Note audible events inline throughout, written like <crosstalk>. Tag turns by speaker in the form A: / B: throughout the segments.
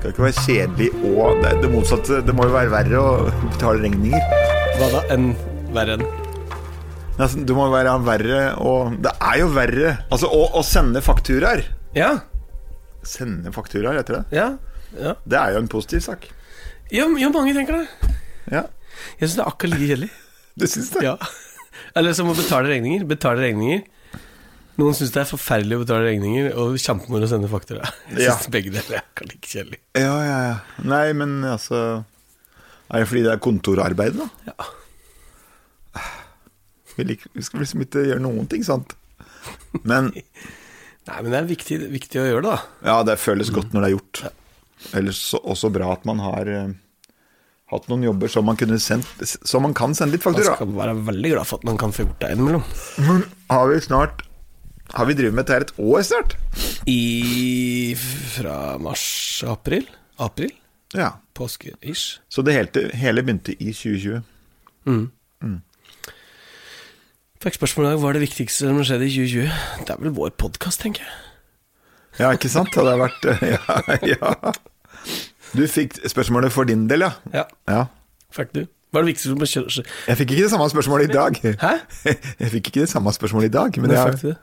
A: ikke være kjedelig og det, det motsatte. Det må jo være verre å betale regninger.
B: Hva da? Enn verre enn?
A: Men Altså, det må jo være verre og Det er jo verre. Altså, å, å sende fakturaer
B: Ja.
A: Sende fakturaer, heter det.
B: Ja. Ja.
A: Det er jo en positiv sak.
B: Jo, jo, mange tenker det.
A: Ja,
B: Jeg syns det er akkurat like kjedelig.
A: du syns det?
B: <laughs> Ja. Eller som å betale regninger. Betale regninger. Noen syns det er forferdelig å betale regninger, og kjempemoro å sende faktura. Jeg
A: Ja.
B: synes begge deler er akkurat like kjedelig.
A: ja, ja. ja. Nei, men altså Er det fordi det er kontorarbeid, da?
B: Ja.
A: Vi, liker, vi skal liksom ikke gjøre noen ting, sant? Men
B: Nei, men det er viktig, viktig å gjøre det, da.
A: ja, det føles godt når det er gjort. Ellers så- også bra at man har eh, hatt noen jobber som man, kunne sendt, som man kan sende litt
B: Man
A: faktura.
B: skal være veldig glad for at man kan få gjort det innimellom.
A: Men har vi snart Har vi drevet med dette her et år snart?
B: I fra mars-april? April?
A: Ja.
B: Påske-ish.
A: Så det hele, hele begynte i 2020.
B: Fikk spørsmål i dag hva er det viktigste som skjedde i 2020. Det er vel vår podkast, tenker jeg.
A: Ja, ikke sant? Hadde jeg vært eh, <laughs> Ja, ja. Du fikk spørsmålet for din del, ja.
B: Ja,
A: ja.
B: fikk du. Hva er det viktigste som skjedde?
A: Jeg fikk ikke det samme spørsmålet i dag.
B: Hæ?
A: <laughs> Jeg fikk ikke det samme spørsmålet i dag, men
B: Når
A: jeg,
B: fikk du det?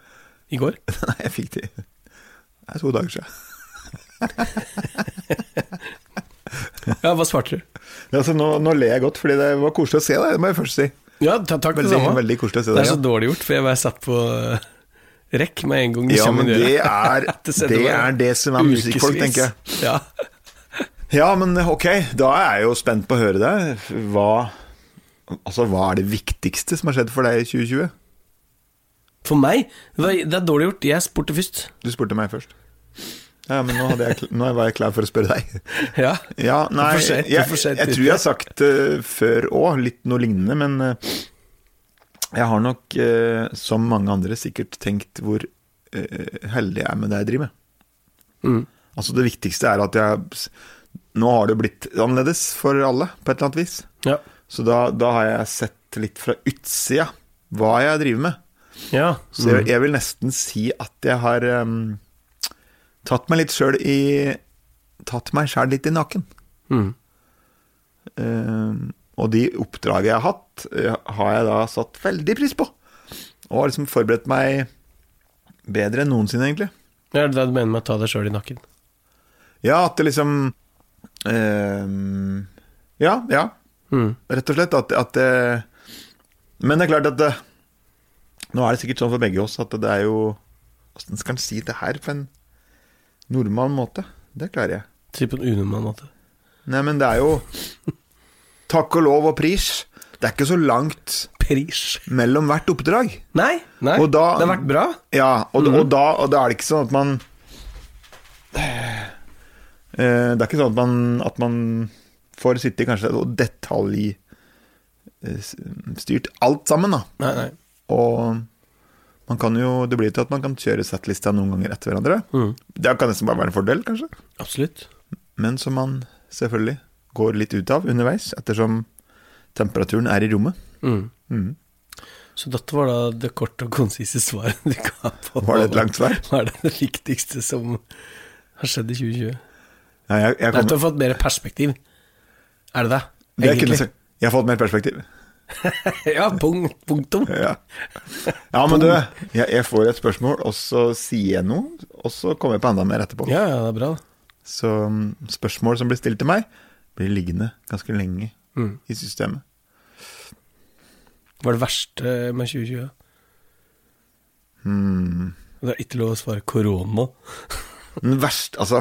B: I går?
A: <laughs> nei, jeg fikk det Det er to dager siden.
B: Ja, hva svarte du?
A: Ja, så nå, nå ler jeg godt, fordi det var koselig å se deg, det må jeg først si.
B: Ja, ta- takk det
A: Veldig,
B: samme.
A: veldig koselig å se
B: Det
A: deg.
B: er så
A: ja.
B: dårlig gjort, for jeg var satt på eh, rekk med en gang du
A: Ja,
B: kommer
A: men
B: i
A: det
B: døra.
A: er
B: <laughs> Det
A: det,
B: sender meg
A: er det som er musikkfolk,
B: Ukevis.
A: tenker jeg.
B: Ja.
A: Ja, men ok, da er jeg jo spent på å høre deg. Hva, altså, hva er det viktigste som har skjedd for deg i 2020?
B: For meg, det var- det er dårlig gjort. Jeg spurte først.
A: Du spurte meg først. Ja, men nå, hadde jeg, kl- nå var jeg klar for å spørre deg. <laughs>
B: Ja.
A: Ja, nei,
B: for sent,
A: jeg,
B: det er
A: jeg,
B: for sent ute.
A: tror jeg har sagt eh, før òg litt noe lignende, men eh, jeg har nok, eh, som mange andre, sikkert tenkt hvor eh, heldig jeg er med det jeg driver med.
B: Mm.
A: Altså Det viktigste er at jeg Nå har det jo blitt annerledes for alle, på et eller annet vis.
B: Ja.
A: Så da, da har jeg sett litt fra utsida hva jeg driver med.
B: ja.
A: Så jeg, jeg vil nesten si at jeg har em, tatt meg litt sjøl i Tatt meg sjæl litt i naken.
B: Mm.
A: Em, Ehm, og de oppdragene jeg har hatt, eh, har jeg da satt veldig pris på. Og har liksom forberedt meg bedre enn noensinne, egentlig.
B: Ja, det er det du mener med å ta deg sjøl i nakken?
A: Ja, at det liksom em, Ja, ja.
B: Mm.
A: Rett og slett at, at det- Men det er klart at det, Nå er det sikkert sånn for begge oss at det er jo Hvordan skal en si det her på en normal måte? Det klarer jeg.
B: Si på en unormal måte.
A: Nei, men det er jo Takk og lov og pris. Det er ikke så langt
B: Pris.
A: mellom hvert oppdrag.
B: Nei, nei.
A: Og da-
B: det har vært bra.
A: Ja, og, og, da, og da er det ikke sånn at man eh, Det er ikke sånn at man, at man får sitte i kanskje og detaljstyrt alt sammen, da.
B: Nei, nei.
A: Og man kan jo, det blir jo til at man kan kjøre settlista noen ganger etter hverandre.
B: Mm.
A: Det kan nesten bare være en fordel, kanskje.
B: Absolutt.
A: Men som man selvfølgelig går litt ut av underveis, ettersom temperaturen er i rommet.
B: Mm.
A: Mm.
B: Så dette var da det korte og konsise svaret du ga på
A: Var det et langt svar?
B: Hva er det, det viktigste som har skjedd i 2020?
A: Nei, jeg, jeg,
B: Det er at du
A: kommer,
B: har fått mer perspektiv. Er det det?
A: det jeg, kunne, sagt- jeg har fått mer perspektiv.
B: <laughs> ja, pung, punktum.
A: Ja, ja men du, jeg, jeg får et spørsmål, og så sier jeg noe, og så kommer jeg på enda mer etterpå.
B: Ja, ja, det er bra. da.
A: Så mm, spørsmål som blir stilt til meg, blir liggende ganske lenge
B: Mm.
A: i systemet.
B: Hva er det verste med 2020?
A: Hmm.
B: Det er ikke lov å svare korona.
A: Men verst, altså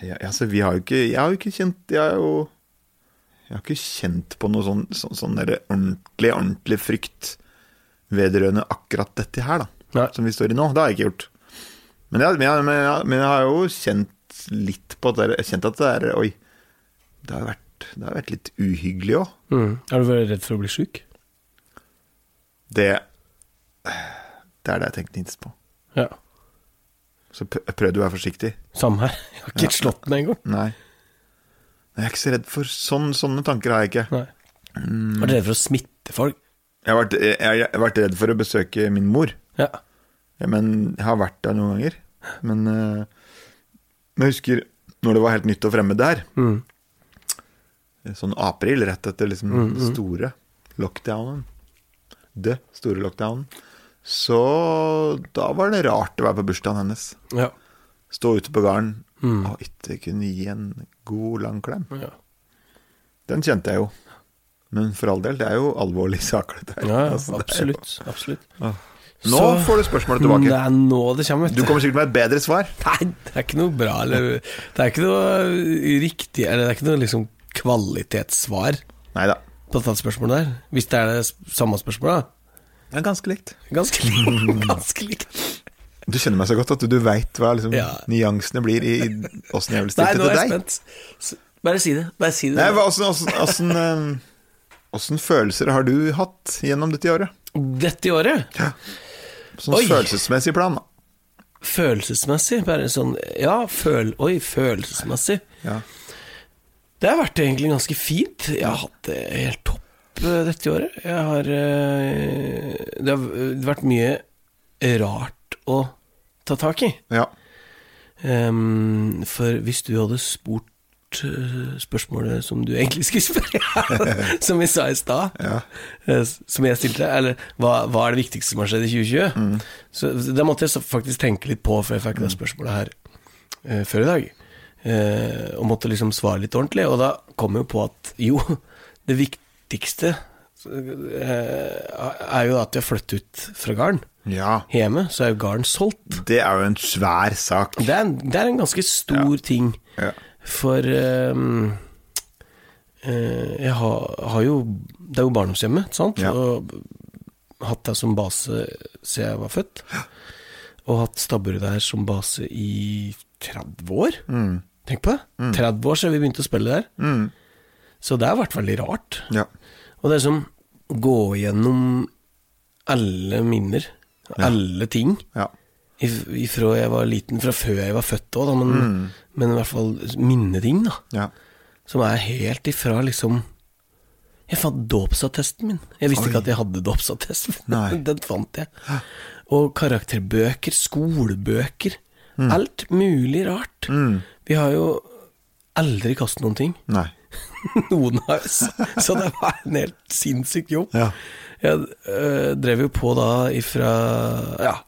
A: ja, altså, vi har jo ikke Jeg har jo ikke kjent Jeg har jo Jeg har ikke kjent på noe sånn, sånn, sånn der ordentlig, ordentlig frykt vedrørende akkurat dette her, da.
B: Nei.
A: Som vi står i nå. Det har jeg ikke gjort. Men jeg, men jeg, men jeg, men jeg har jo kjent litt på at det, er- kjent at det er Oi, det har vært, det har vært litt uhyggelig òg.
B: Er du veldig redd for å bli sjuk?
A: Det Det er det jeg tenkte minst på.
B: Ja.
A: Så pr- jeg prøvde å være forsiktig.
B: Samme her. Jeg har ikke slått den engang.
A: Nei. Jeg er ikke så redd for sånn, sånne tanker har jeg ikke.
B: Nei.
A: Mm.
B: Er du redd for å smitte folk?
A: Jeg har, vært, jeg, jeg har vært redd for å besøke min mor.
B: Ja.
A: Ja, men jeg har vært der noen ganger. Men eh, men jeg husker når det var helt nytt og fremmed der.
B: Mm.
A: Sånn april, rett etter liksom den store lockdownen. Det store lockdownen. Så da var det rart å være på bursdagen hennes.
B: Ja.
A: Stå ute på gården og ikke kunne gi en god, lang klem.
B: ja.
A: Den kjente jeg jo. Men for all del, det er jo alvorlige <laughs> saker, dette her.
B: ja,
A: Altså, det er jo-
B: absolutt. absolutt.
A: Nå
B: Så- Mm,
A: får du spørsmålet tilbake.
B: Det er nå det kommer.
A: Du kommer sikkert med et bedre svar.
B: Nei, det er ikke noe bra eller Det er ikke noe riktig Eller det er ikke noe liksom kvalitetssvar
A: Nei da.
B: på dette spørsmålet der. Hvis det er det s- samme spørsmålet, da.
A: Det er ganske likt.
B: Ganske
A: <laughs>
B: likt. Ganske likt.
A: Du kjenner meg så godt at du, du veit hva liksom,
B: Ja.
A: nyansene blir i åssen jeg vil
B: Nei,
A: stille
B: nå
A: til
B: er jeg
A: deg.
B: spent. S- Bare si det. Bare si det.
A: Nei, hva- åssen- åssen- åssen, eh, Åssen følelser har du hatt gjennom dette året?
B: Dette i året,
A: Sånn
B: Oi.
A: følelsesmessig plan, da.
B: følelsesmessig, bare sånn Ja, føl... Oi, følelsesmessig.
A: Ja.
B: Det har vært egentlig ganske fint. Jeg har hatt det helt topp eh, dette året. Jeg har eh, Det har v- vært mye rart å ta tak i.
A: ja.
B: Ehm, for hvis du hadde spurt eh, spørsmålet som du egentlig skulle <laughs> spørre, som vi sa i stad,
A: Ja.
B: eh, s- som jeg stilte deg, eller hva, hva er det viktigste som har skjedd i 2020? Så Da måtte jeg så faktisk tenke litt på, for jeg fikk det spørsmålet her eh, før i dag. Eh, og måtte liksom svare litt ordentlig. Og da kom jeg jo på at jo, <laughs> det viktigste eh, er jo at jeg flyttet ut fra gården.
A: ja.
B: Hjemme så er jo gården solgt.
A: Det er jo en svær sak.
B: Det er, en- det er en ganske stor ting.
A: Ja.
B: For ehm, eh, jeg har, har jo Det er jo barndomshjemmet, ikke sant?
A: Ja.
B: Og hatt deg som base siden jeg var født. Og hatt stabburet der som base i 30 år.
A: Mm.
B: Tenk på det! 30 år siden vi begynte å spille der.
A: Mm.
B: Så det har vært veldig rart.
A: ja.
B: Og det er som gå gjennom alle minner, alle ting.
A: Ja.
B: if- Ifra jeg var liten, fra før jeg var født òg, men,
A: Mm.
B: men i hvert fall minneting, da
A: ja.
B: som er helt ifra liksom Jeg fant dåpsattesten min. Jeg visste ikke at jeg hadde <laughs> dåpsattest,
A: Nei.
B: men den fant jeg. Og karakterbøker, skolebøker. Alt mulig
A: Mm.
B: rart. Vi har jo aldri kastet noen ting, <laughs>
A: Nei.
B: noen av oss. Så det var en helt sinnssyk jobb.
A: Ja.
B: Jeg øh, drev jo på da ifra Ja,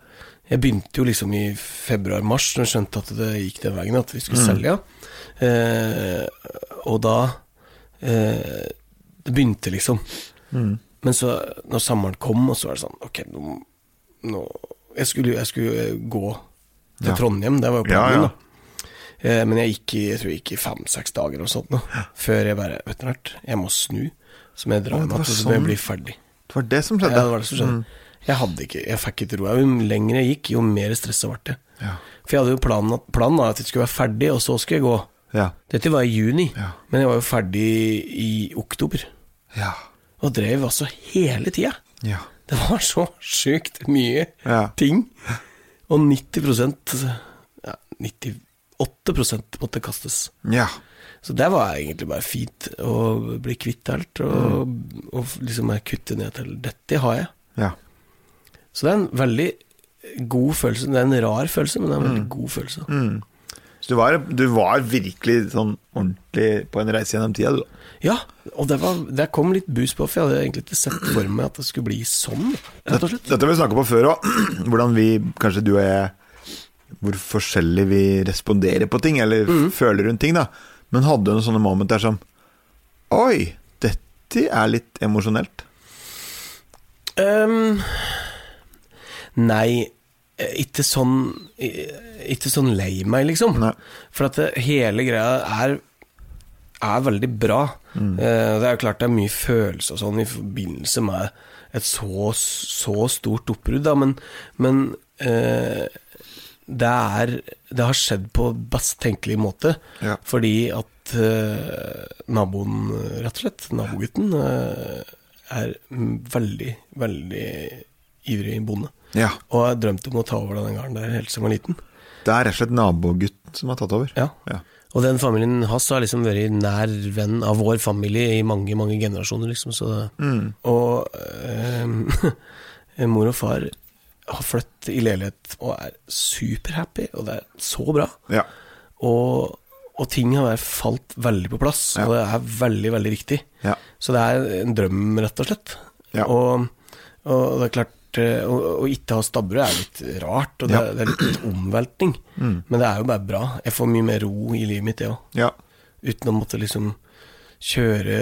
B: jeg begynte jo liksom i februar-mars, når jeg skjønte at det gikk den veien, at vi
A: Mm.
B: skulle selge. Eh, og da eh, Det begynte, liksom.
A: Mm.
B: Men så, når sommeren kom, og så var det sånn Ok, nå, nå jeg, skulle, jeg skulle eh, gå til
A: Ja.
B: Trondheim, det var jo
A: Ja,
B: planen,
A: ja.
B: da. Eh, Men jeg gikk i jeg tror jeg gikk i fem-seks dager og sånt nå, før jeg bare Vet dere hva, jeg må snu. Så må jeg dra
A: Å, det
B: hjem
A: var
B: igjen, og så må
A: sånn.
B: jeg bli ferdig.
A: Det var det som skjedde. Mm.
B: Ja, det var det som skjedde. Jeg hadde ikke, jeg fikk ikke roa. Jo lenger jeg gikk, jo mer stressa ble det.
A: Ja.
B: For jeg hadde jo planen, at- planen var at jeg skulle være ferdig, og så skulle jeg gå.
A: Ja.
B: Dette var i juni,
A: Ja.
B: men jeg var jo ferdig i oktober.
A: Ja.
B: Og drev altså hele tida.
A: ja.
B: Det var så sjukt mye
A: Ja.
B: ting. Og 90 ja, 98 måtte kastes.
A: Ja.
B: Så det var egentlig bare fint å bli kvitt alt, og, og liksom bare kutte ned til Dette har jeg.
A: Ja.
B: Så det er en veldig god følelse. Det er en rar følelse, men det er en veldig god følelse.
A: Så du var, du var virkelig sånn ordentlig på en reise gjennom tida, du, da.
B: Ja, og det, var, det kom litt bus på, for jeg hadde egentlig ikke sett for meg at det skulle bli sånn, rett og slett.
A: Dette har vi snakka på før òg, <clears throat> hvordan vi, kanskje du og jeg Hvor forskjellig vi responderer på ting, eller
B: Mm.
A: føler rundt ting, da. Men hadde du noen sånne moment der som Oi, dette er litt emosjonelt.
B: Ehm, nei, eh, ikke sånn eh, Ikke sånn lei meg, liksom.
A: Nei.
B: For at det, hele greia er er veldig bra.
A: Mm.
B: Eh, det er jo klart det er mye følelse og sånn i forbindelse med et så, så stort oppbrudd, da, men, men eh, det er Det har skjedd på best tenkelig måte.
A: Ja.
B: Fordi at eh, naboen, rett og slett, nabogutten, eh, er mm, veldig, veldig ivrig bonde.
A: Ja.
B: Og har drømt om å ta over denne gården der helt siden jeg var liten.
A: Det er rett og slett nabogutten som har tatt over.
B: Ja.
A: Ja.
B: Og den familien hans har liksom vært nær venn av vår familie i mange, mange generasjoner, liksom. Så det.
A: Mm.
B: Og eh, <laughs> mor og far har flyttet i leilighet og er superhappy, og det er så bra.
A: Ja.
B: Og, Og ting har vært- falt veldig på plass, og det er veldig, veldig riktig.
A: Ja.
B: Så det er en drøm, rett og slett.
A: Ja.
B: Og, og det er klart eh, Å å ikke ha stabburet er litt rart, og det,
A: Ja.
B: er- det er litt omveltning. Men det er jo bare bra. Jeg får mye mer ro i livet mitt, jeg òg.
A: Mm. Ja.
B: Uten å måtte liksom kjøre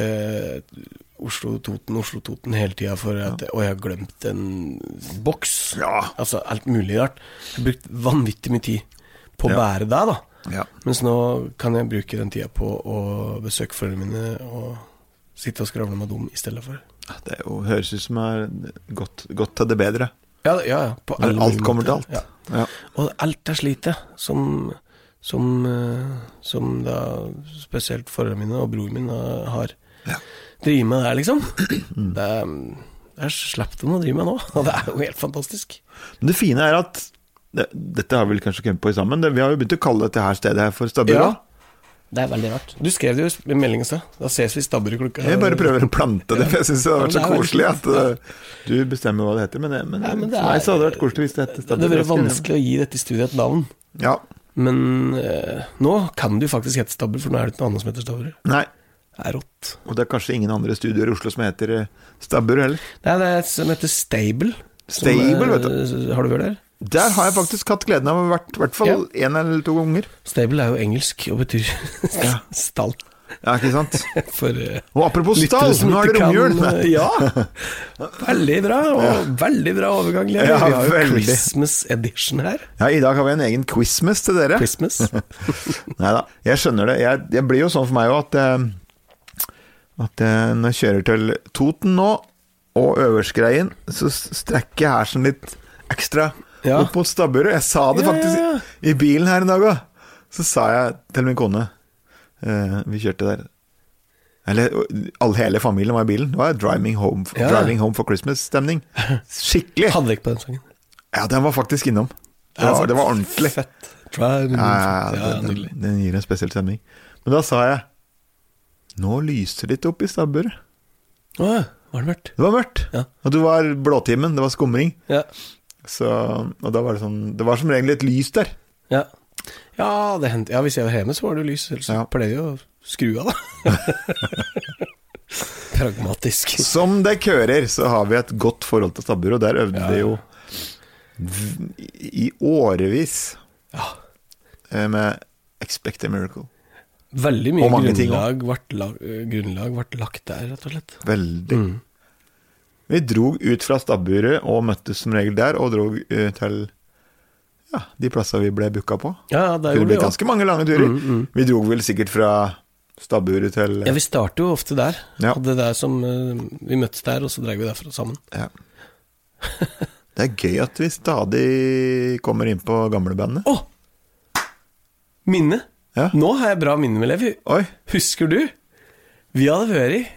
B: Oslo-Toten, Oslo-Toten hele tida for at Og jeg har glemt en boks.
A: Ja.
B: Altså alt mulig rart. Jeg har brukt vanvittig mye tid på å bære deg, da.
A: Ja.
B: Mens nå kan jeg bruke den tida på å besøke foreldrene mine og sitte og skravle med dem i stedet for.
A: Det er jo, høres ut som det er godt, godt til det bedre.
B: Ja, ja. ja på alle
A: Når alt
B: mulige
A: kommer til alt.
B: måter.
A: Ja.
B: Ja. Og alt er slitet, som, som, eh, som da spesielt foreldrene mine og broren min eh, har
A: Ja. Mm.
B: drevet med der, liksom. Det er, det er slapp de å drive med nå, <laughs> og det er jo helt fantastisk.
A: Men det fine er at det, Dette har vi vel kanskje kommet på sammen. Det, vi har jo begynt å kalle dette her stedet her for Stabburet.
B: Det er veldig rart. Du skrev det jo i meldingen i stad. Da ses vi i stabburet klokka
A: Jeg bare prøver å plante det, for jeg syns det har vært så
B: Ja, men det er
A: koselig at uh, du bestemmer hva det heter. Men, det, men,
B: Nei, men det
A: for
B: er-
A: meg så hadde det vært koselig hvis det het
B: Det hadde vært vanskelig å gi dette studiet et navn.
A: Ja.
B: Men eh, nå kan det jo faktisk hete Stabburet, for nå er det ikke noe annet som heter Stabburet.
A: Nei.
B: Det er rått.
A: Og det er kanskje ingen andre studioer i Oslo som heter eh, Stabburet heller.
B: Det er det som heter Stable. som,
A: Stable, vet
B: eh, Har du vært der?
A: Der har jeg faktisk hatt gleden av å ha vært i hvert fall én eller to ganger.
B: Stable er jo engelsk og <laughs> betyr
A: Ja.
B: stall.
A: Ja, ikke sant?
B: For eh,
A: Og apropos
B: lyttere
A: stall,
B: som
A: nå er det
B: ikke kan,
A: romjul!
B: eh,
A: <laughs>
B: Ja. Veldig bra, og veldig bra overgang. Levi.
A: Ja,
B: Vi har jo
A: veldig.
B: Christmas edition her.
A: Ja, I dag har vi en egen quizmas til dere.
B: Christmas.
A: Nei da, jeg skjønner det. Jeg, jeg blir jo sånn for meg òg at eh, At eh, når jeg kjører til Toten nå, og Øversgreien, så s- strekker jeg hersen litt ekstra
B: Ja.
A: opp mot stabburet. Jeg sa det
B: Ja,
A: faktisk
B: ja, ja.
A: i bilen her en dag òg. Så sa jeg til min kone eh, Vi kjørte der. Eller all, hele familien var i bilen. Det var driving home, for-
B: Ja.
A: driving home for Christmas-stemning. Skikkelig!
B: Hadde ikke på den sangen. Altså,
A: Ja, den var faktisk innom. Det var, det var ordentlig.
B: Fett. Try and-
A: Ja,
B: ja,
A: ja, ja,
B: nydelig.
A: den, den gir en spesiell stemning. Men da sa jeg Nå lyser det litt opp i stabburet.
B: Å ja, var det mørkt?
A: Det var mørkt.
B: Ja.
A: Og det var blåtimen, det var skumring.
B: Ja.
A: Så, og da var det sånn Det var som regel et lys der.
B: Ja, ja, det hendte. ja hvis jeg var hjemme, så var det jo lys. Ellers
A: Ja.
B: pleier jeg å skru av, da. <laughs> Pragmatisk.
A: Som det kører, så har vi et godt forhold til stabburet, og der øvde
B: Ja.
A: vi jo v- i årevis
B: Ja.
A: eh, med Expect a Miracle.
B: Veldig mye
A: Og mange ting
B: grunnlag ble, lag, grunnlag ble lagt der, rett og slett. Mm.
A: Veldig. Vi drog ut fra stabburet og møttes som regel der, og drog eh, til ja, de plassene vi ble booka på.
B: Ja, det
A: Det
B: gjorde
A: ble
B: vi Mm, også.
A: ganske mange lange turer. Vi drog vel sikkert fra stabburet til
B: Ja, vi starter jo ofte der.
A: Ja.
B: Hadde det der som eh, Vi møttes der, og så drar vi derfra sammen.
A: Ja. Det er gøy at vi stadig kommer inn på gamlebandet.
B: Å! Minne!
A: Ja.
B: Nå har jeg bra minne med Levi.
A: Oi!
B: Husker du? Vi hadde vært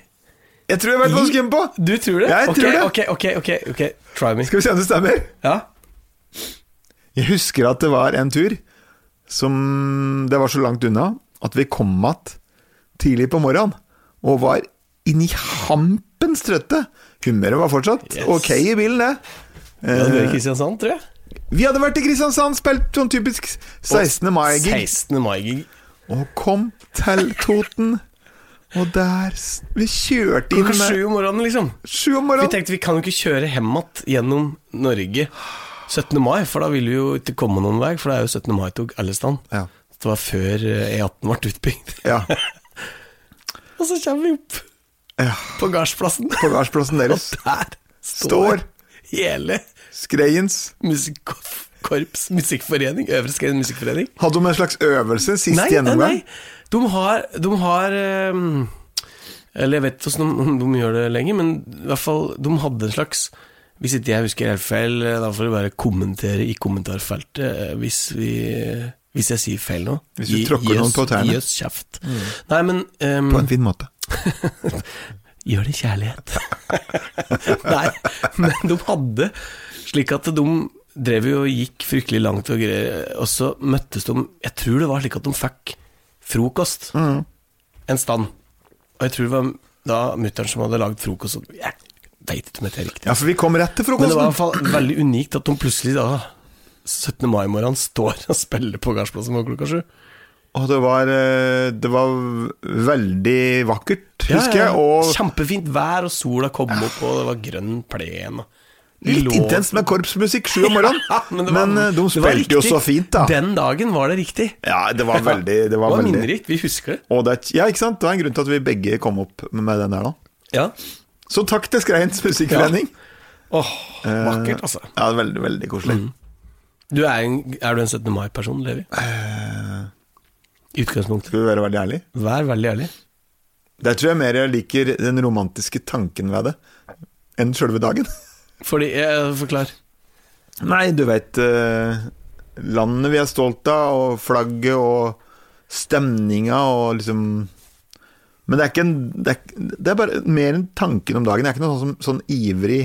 A: Jeg tror jeg vet hva du skal inn på!
B: Du tror det?
A: Jeg
B: Ok,
A: tror det.
B: Ok, ok, ok, ok. Try me.
A: Skal vi se om det stemmer?
B: Ja.
A: Jeg husker at det var en tur som Det var så langt unna at vi kom att tidlig på morgenen og var inni hampens trøtte. Humøret var fortsatt
B: Yes.
A: ok i bilen, det.
B: Vi hadde vært i
A: Eh,
B: Kristiansand, tror jeg.
A: vi hadde vært i Kristiansand, spilt sånn typisk 16. mai-gig.
B: 16. mai-gig.
A: Og kom til Toten Og der s- Vi kjørte inn
B: Klokka sju
A: med
B: om morgenen, liksom.
A: Sju om
B: Vi
A: morgenen
B: tenkte vi kan jo ikke kjøre hjem igjen gjennom Norge 17. mai, for da vil vi jo ikke komme noen vei, for det er jo 17. mai-tog alle steder.
A: Ja.
B: Det var før eh, E18 ble utbygd. <laughs>
A: Ja,
B: Og så kommer vi opp
A: ja.
B: på gardsplassen,
A: På gardsplassen
B: <laughs> og
A: deres
B: der
A: Står.
B: står hele
A: Skreiens
B: musikkorps, musikkforening, Øvre Skrein musikkforening.
A: Hadde de en slags øvelse Sist
B: Nei, nei,
A: gjennomgang
B: nei. De har, de har ehm, Eller jeg vet ikke hvordan de, om de gjør det lenger, men i hvert fall, de hadde en slags Hvis ikke jeg husker helt feil, eh, da får du bare kommentere i kommentarfeltet eh, hvis vi hvis jeg sier feil nå.
A: Hvis du
B: Gi-
A: tråkker
B: gi
A: noen
B: oss-
A: på tærne.
B: Gi oss kjeft. Nei, men ehm,
A: På en fin måte
B: Gjør det i kjærlighet. <laughs> Nei, men de hadde Slik at de drev jo og gikk fryktelig langt og greier, og så møttes de Jeg tror det var slik at de fikk frokost
A: Mm.
B: en stand. Og jeg tror det var da mutter'n som hadde lagd frokost, og jeg veit ikke om dette er riktig.
A: Ja, for vi kom rett til
B: Men det var i
A: frokosten
B: hvert fall veldig unikt at de plutselig da 17. mai-morgenen står og spiller på gardsplassen vår klokka sju.
A: Og det var, eh, det var veldig vakkert, husker jeg. Og
B: Kjempefint vær, og sola kom opp, og det var grønn plen. og vi
A: litt
B: lå-
A: intenst med korpsmusikk sju om morgenen.
B: <laughs> Ja,
A: men
B: det var-
A: eh, de
B: det var
A: spilte jo
B: riktig.
A: så fint, da.
B: Den dagen var det riktig.
A: Ja, det var veldig Det var, veldig
B: minnerikt. Vi husker det.
A: og det, er- Ja, ikke sant? Det var en grunn til at vi begge kom opp med den der, da.
B: Ja.
A: Så takk til Skreins musikkforening.
B: Åh, vakkert, altså.
A: Ja, det er veldig, veldig koselig.
B: Du er, en, er du en 17. mai-person, Levi?
A: Eh.
B: I utgangspunktet.
A: Skal vi være veldig ærlig?
B: Vær veldig ærlig.
A: Der tror jeg mer jeg liker den romantiske tanken ved det enn sjølve dagen. <laughs>
B: Fordi eh, Forklar.
A: Nei, du veit eh, Landet vi er stolt av, og flagget og stemninga og liksom Men det er ikke en Det er, det er bare mer enn tanken om dagen. Jeg er ikke noen sånn, sånn ivrig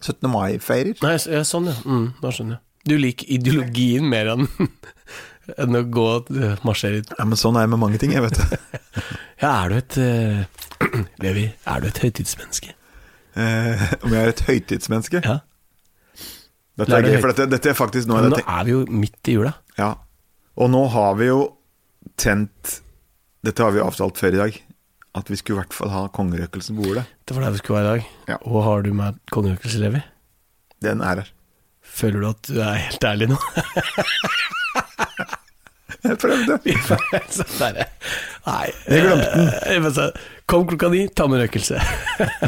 A: 17. mai-feirer.
B: Nei, s- ja, sånn, ja. Mm, da skjønner jeg. Du liker ideologien mer enn <laughs> enn å gå og eh, marsjere ut.
A: Ja, men sånn er jeg med mange ting, jeg, vet <laughs> du.
B: Ja, er du et eh, <clears throat> Levi, er du et høytidsmenneske?
A: Eh, om jeg er et høytidsmenneske?
B: Ja.
A: Dette er
B: Det er
A: gøy,
B: det
A: for dette, dette er faktisk noe
B: Men
A: jeg
B: nå
A: tenker
B: er vi jo midt i jula.
A: Ja. Og nå har vi jo tent Dette har vi jo avtalt før i dag. At vi skulle i hvert fall ha kongerøkelsen på bordet.
B: Det var der vi skulle være i dag.
A: Ja.
B: Og har du med kongeøkelse, Levi?
A: Den er her. <laughs>
B: Føler du at du er helt ærlig nå? <laughs>
A: Jeg prøvde.
B: Så sånn der, nei.
A: Jeg glemte den.
B: Eh, men så, Kom klokka ni, ta med røkelse.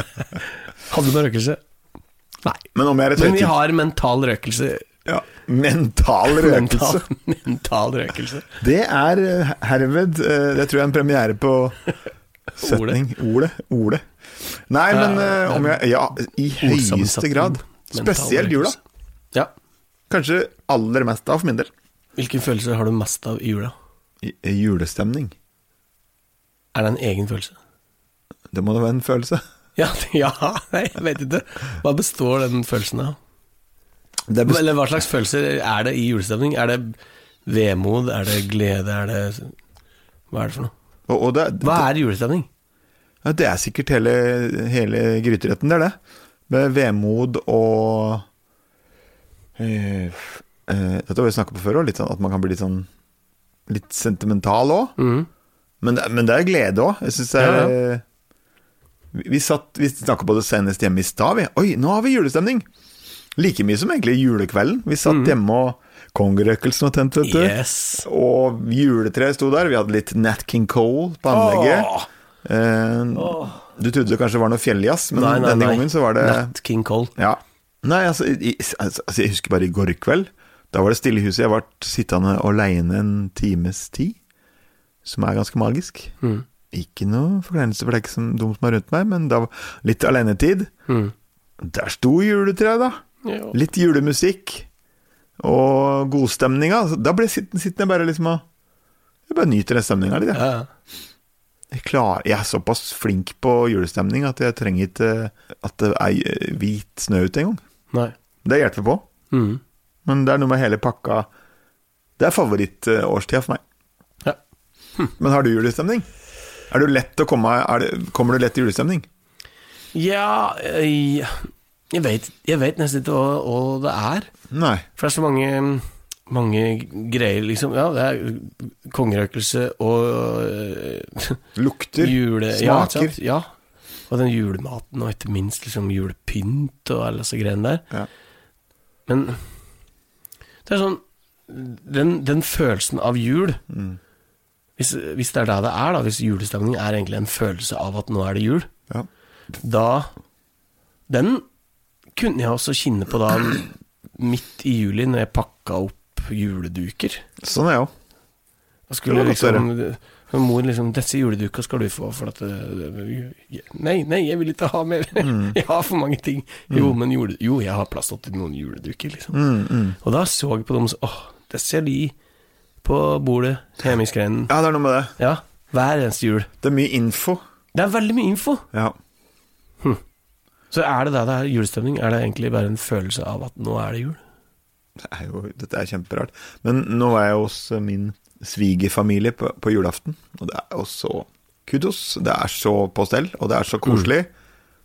B: <laughs> Hadde du med røkelse? Nei.
A: Men om jeg er et
B: Men vi
A: høytids...
B: har mental røkelse.
A: Ja. Mental røkelse.
B: Mental, <laughs> mental røkelse.
A: Det er eh, herved eh, Det tror jeg er en premiere på setning. Ordet. Ordet. Nei, men eh, om jeg Ja, i høyeste
B: Ordsammensetning.
A: grad.
B: Mental
A: Spesielt jula.
B: røkelse. Ja.
A: Kanskje aller mest av for min del.
B: Hvilke følelser har du mest av i jula?
A: I, i julestemning.
B: Er det en egen følelse?
A: Det må da være en følelse.
B: Ja, <laughs> ja, nei, jeg vet ikke. Hva består den følelsen av?
A: Det er best-
B: Eller hva slags følelser er det i julestemning? Er det vemod? Er det glede? Er det Hva er det for noe?
A: og, og det,
B: Hva er julestemning?
A: Ja, det er sikkert hele, hele gryteretten, det er det. Med vemod og eh, f- eh, Dette har vi snakka på før òg, sånn, at man kan bli litt sånn Litt sentimental òg.
B: Mhm.
A: Men, det- men det er glede òg. Jeg syns det er eh, Vi, vi, satt- vi snakka på det senest hjemme i stad, vi. Oi, nå har vi julestemning! Like mye som egentlig julekvelden. Vi satt hjemme og kongerøkelsen var tent, vet du.
B: Yes.
A: Og juletreet sto der. Vi hadde litt Nat King Cole på anlegget.
B: Åh.
A: Eh, Du trodde det kanskje var noe fjelljazz, men
B: Nei, nei,
A: denne
B: nei.
A: gangen så var det
B: Nat King Cole.
A: Ja. Nei, altså, i, i- altså, jeg husker bare i går kveld. Da var det stille i huset. Jeg var sittende aleine en times tid, som er ganske magisk. Ikke noe forkleinelse for det er ikke som de som er rundt meg, men da var litt alenetid. Der sto juletreet, da. Mm. Litt julemusikk og godstemninga. Så Da ble jeg sittende, sittende bare liksom og Jeg bare nyter den stemninga litt, jeg.
B: Ja, ja.
A: Jeg, klar, jeg er såpass flink på julestemning at jeg trenger ikke at det er eh, hvit snø ute engang.
B: Nei.
A: Det hjelper på, Mm.
B: Mhm.
A: men det er noe med hele pakka Det er favorittårstida for meg.
B: Ja.
A: Men har du julestemning? Er du lett å komme, er det, kommer du lett i julestemning?
B: Ja eh, Jeg vet, jeg vet nesten ikke hva, hva det er.
A: Nei.
B: For det er så mange mange greier, liksom. Ja, det er kongerøkelse og eh,
A: Lukter,
B: Jule,
A: smaker.
B: Ja, ja. Og den julematen, og ikke minst liksom julepynt og alle disse greiene der.
A: Ja.
B: Men det er sånn Den, den følelsen av jul
A: Mm.
B: hvis, hvis det er det det er, da, hvis julestemning er egentlig en følelse av at nå er det jul,
A: Ja.
B: da Den kunne jeg også kjenne på da midt i juli, når jeg pakka opp juleduker.
A: Sånn er jeg òg.
B: Da
A: Det
B: skulle
A: var godt å
B: liksom så Mor liksom 'Disse juleduka skal du få', for at eh, Nei, nei, jeg vil ikke ha mer. <laughs> Jeg har for mange ting. Jo, men jule, jo, jeg har plass til noen juleduker, liksom.
A: Mm, mm.
B: Og da så jeg på dem og så Åh, det ser de på bordet hjemme i skrenen.
A: Ja, det er noe med det.
B: Ja, hver eneste jul.
A: Det er mye info.
B: Det er veldig mye info.
A: Ja.
B: Så er det der det er julestemning? Er det egentlig bare en følelse av at nå er det jul?
A: Det er jo, dette er kjemperart. Men nå var jeg hos eh, min svigerfamilie på, på julaften, og det er jo så kudos. Det er så på stell, og det er så koselig.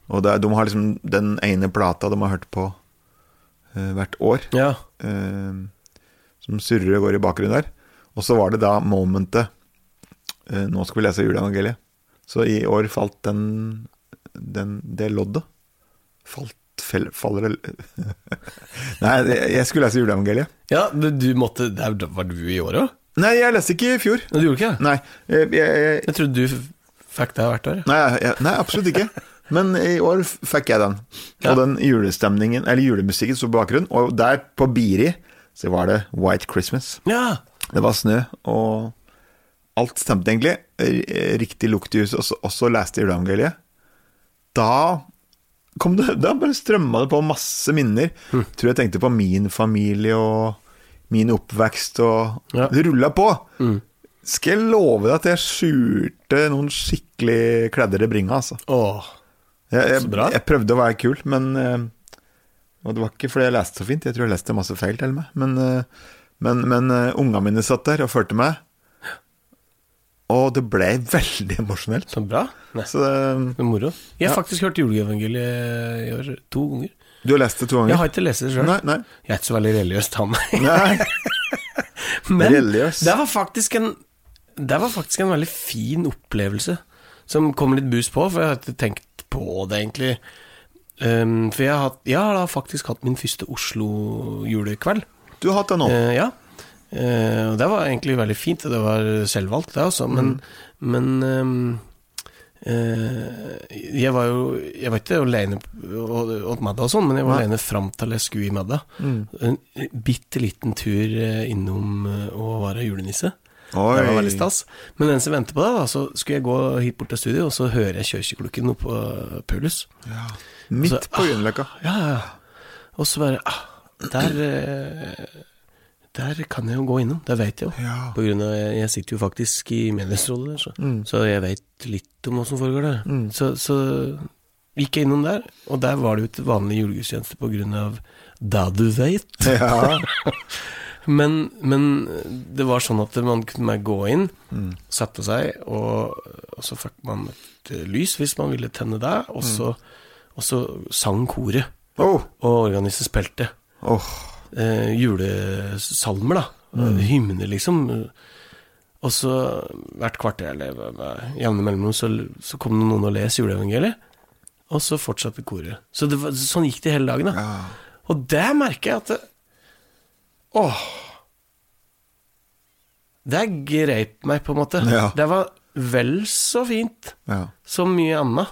A: Og det er, de har liksom den ene plata de har hørt på eh, hvert år,
B: Ja.
A: eh, som surrer og går i bakgrunnen der. Og så var det da momentet eh, Nå skal vi lese juleevangeliet. Så i år falt den, den det loddet. Falt fel, Faller det <laughs> Nei, jeg skulle lese juleevangeliet.
B: Ja, du, du måtte der, Var du i året? da?
A: Nei, jeg leste ikke i fjor.
B: Nei, Du gjorde ikke det?
A: Nei, eh, jeg, jeg, jeg,
B: Jeg trodde du f- fikk det hvert år. ja.
A: nei, jeg, nei absolutt ikke. Men i år f- fikk jeg den.
B: Ja.
A: Og den julestemningen, eller julemusikken, sto på bakgrunnen. Og der, på Biri, så var det White Christmas.
B: Ja.
A: Det var snø, og alt stemte egentlig. R- Riktig lukt i huset, og så- og så leste jeg juleevangeliet. Da kom det Da bare strømma det på masse minner. Tror jeg tenkte på min familie og min oppvekst og
B: Ja.
A: Det rulla på! Skal jeg love deg at jeg skjulte noen skikkelig kledder i bringa, altså.
B: Åh.
A: Jeg, jeg,
B: Så bra.
A: jeg prøvde å være kul, men eh, Og det var ikke fordi jeg leste så fint, jeg tror jeg leste masse feil til og med. Men, eh, men, men eh, unga mine satt der og fulgte meg, og det ble veldig emosjonelt.
B: Så bra. Nei,
A: Så eh, det,
B: det er moro. Jeg
A: Ja.
B: har faktisk hørt juleevangeliet i år to ganger.
A: du har lest det to
B: Jeg
A: ganger?
B: har ikke lest det sjøl.
A: Nei, nei.
B: Jeg er ikke så veldig religiøs, <laughs> han.
A: nei.
B: Men
A: Religiøs.
B: det var faktisk en Det var faktisk en veldig fin opplevelse Som kom litt bus på For jeg hadde ikke tenkt på det egentlig um, For jeg har, hatt- jeg har da faktisk hatt min første Oslo julekveld
A: Du har hatt det nå.
B: Eh, Ja Eh, Og det var egentlig veldig fint og Det var selvvalgt det også Men, men ehm, eh, jeg var jo Jeg var ikke alene og- og- Åt middag og sånn Men jeg var
A: Nei.
B: alene frem til jeg skulle i middag
A: Mm.
B: en bitte liten tur eh, innom eh, og være julenisse.
A: Oi.
B: Det var veldig stas. Men mens jeg venter på det, da, så skulle jeg gå hit bort til studio, og så hører jeg kirkeklokken oppå eh, Paulus.
A: Ja. Midt
B: Altså,
A: på Grünerløkka.
B: Ja, ja, ja. Og så bare ah, Der eh, Der kan jeg jo gå innom, det vet jeg jo.
A: Ja.
B: På grunn av, jeg jeg sitter jo faktisk i menighetsrådet der, så,
A: Mm.
B: så jeg vet litt om hva som foregår der.
A: Mm.
B: Så, så gikk jeg innom der, og der var det jo et vanlig julegudstjeneste på grunn av da du veit.
A: ja.
B: Men, men det var sånn at man kunne gå inn,
A: Mm.
B: sette seg, og, og så fikk man et eh, lys hvis man ville tenne det, og så, og så sang koret,
A: Oh.
B: og organisten spilte
A: Oh.
B: eh, julesalmer, da.
A: Mm.
B: Hymner, liksom. Og så hvert kvarter, eller hva- hva- jevne mellomrom, så, så kom det noen og les juleevangeliet, og så fortsatte koret. Så det var, sånn gikk det hele dagen, da.
A: Ja.
B: Og der merker jeg at det, Åh Det greip meg på en måte
A: Ja.
B: Det var vel så fint
A: ja.
B: Som mye annet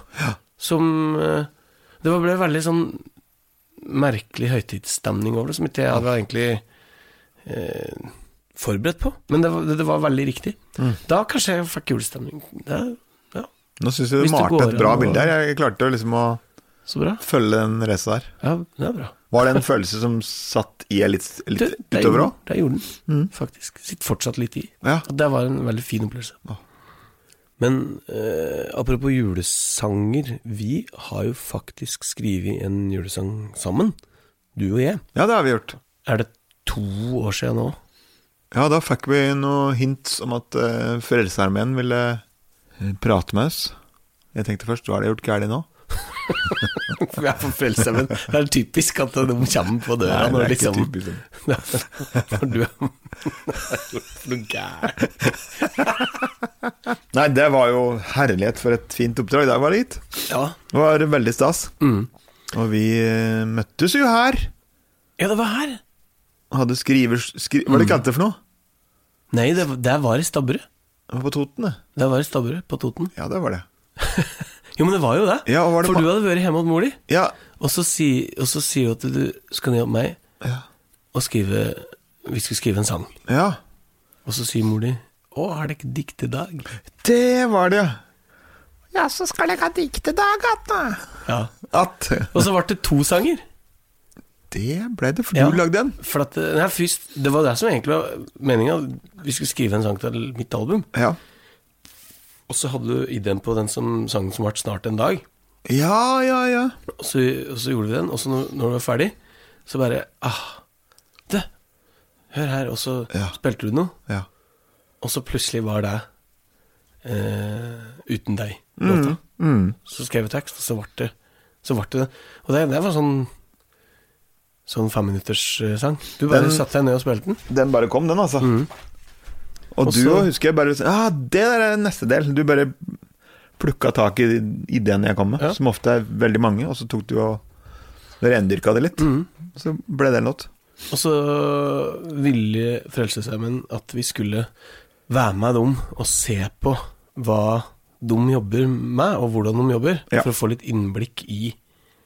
B: Som eh, Det var- ble veldig sånn Merkelig høytidsstemning over det Som ikke jeg hadde egentlig eh, Forberedt på Men det var, det var veldig riktig Da kanskje jeg fikk julestemning Det er ja,
A: Nå syns jeg
B: Hvis
A: du
B: du
A: malte
B: går
A: et bra
B: an å-
A: bilde her. Jeg klarte å liksom å
B: så bra
A: følge den racet der.
B: Ja, det er bra
A: Var det en følelse som satt i deg litt, litt
B: Det, det,
A: utover
B: gjorde,
A: òg?
B: det gjorde den,
A: Mm.
B: faktisk. Sitter fortsatt litt i.
A: Ja.
B: Og det var en veldig fin opplevelse.
A: Ja.
B: Men eh, apropos julesanger, vi har jo faktisk skrevet en julesang sammen, du og jeg.
A: ja, det har vi gjort.
B: Er det to år siden
A: <laughs>
B: nå?
A: Ja, da fikk vi noe hint om at uh, Frelsesarmeen ville eh, prate med oss. Jeg tenkte først, hva har de gjort galt nå?
B: Vi er på Frelsesarmeen. Det er typisk at de kommer på døra
A: det
B: når
A: er sånn-
B: liksom
A: typisk. dem.
B: Når du er <laughs> noe gærent.
A: Nei, det var jo herlighet for et fint oppdrag. Der var det gitt.
B: Ja.
A: Det var veldig stas.
B: Mm.
A: Og vi eh, møttes jo her.
B: ja, det var her.
A: Hadde skriver... Skri, hva er det kalt det for noe?
B: Nei, det, det var i Stabburet.
A: Det var på Toten, det.
B: Det var i Stabburet på Toten.
A: Ja, det var det.
B: Jo, men det var jo det.
A: Ja, og var det
B: For
A: ma-
B: du hadde vært hjemme hos mor di.
A: Ja.
B: Og så si- og så sier hun at du skal ned opp meg
A: Ja.
B: og skrive Vi skal skrive en sang.
A: ja.
B: Og så sier mor di Å, er det ikke dikt i dag?
A: Det var det, ja. Ja, så skal jeg ha diktedag, Atna.
B: Ja.
A: At
B: Og så ble det to sanger.
A: Det ble det, for
B: Ja.
A: du lagde den.
B: For at, nei, først, det var det som egentlig var meninga. Vi skulle skrive en sang til mitt album.
A: Ja.
B: Og så hadde du ideen på den som, sangen som ble Snart en dag.
A: Ja, ja, ja.
B: Og så, og så gjorde vi den. Og så når, når du var ferdig, så bare ah, Du, hør her. Og så
A: Ja.
B: spilte du noe.
A: ja.
B: Og så plutselig var det eh, Uten deg. Låta.
A: Mm.
B: Så skrev jeg tekst, og så ble det så ble det. Og det, det var sånn Sånn femminutterssang. Du bare
A: Den-
B: satte deg ned og spilte den.
A: Den bare kom, den, altså. Og
B: Mm. Og
A: du
B: så-
A: òg, husker jeg bare Ja, ah, det der er neste del. Du bare plukka tak i ideen jeg kom med,
B: Ja.
A: som ofte er veldig mange, og så tok du og rendyrka det litt.
B: Mm.
A: Så ble det en låt.
B: Og så ville Frelsesarmeen at vi skulle være med dem og se på hva de jobber med, og hvordan de jobber,
A: Ja.
B: for å få litt innblikk i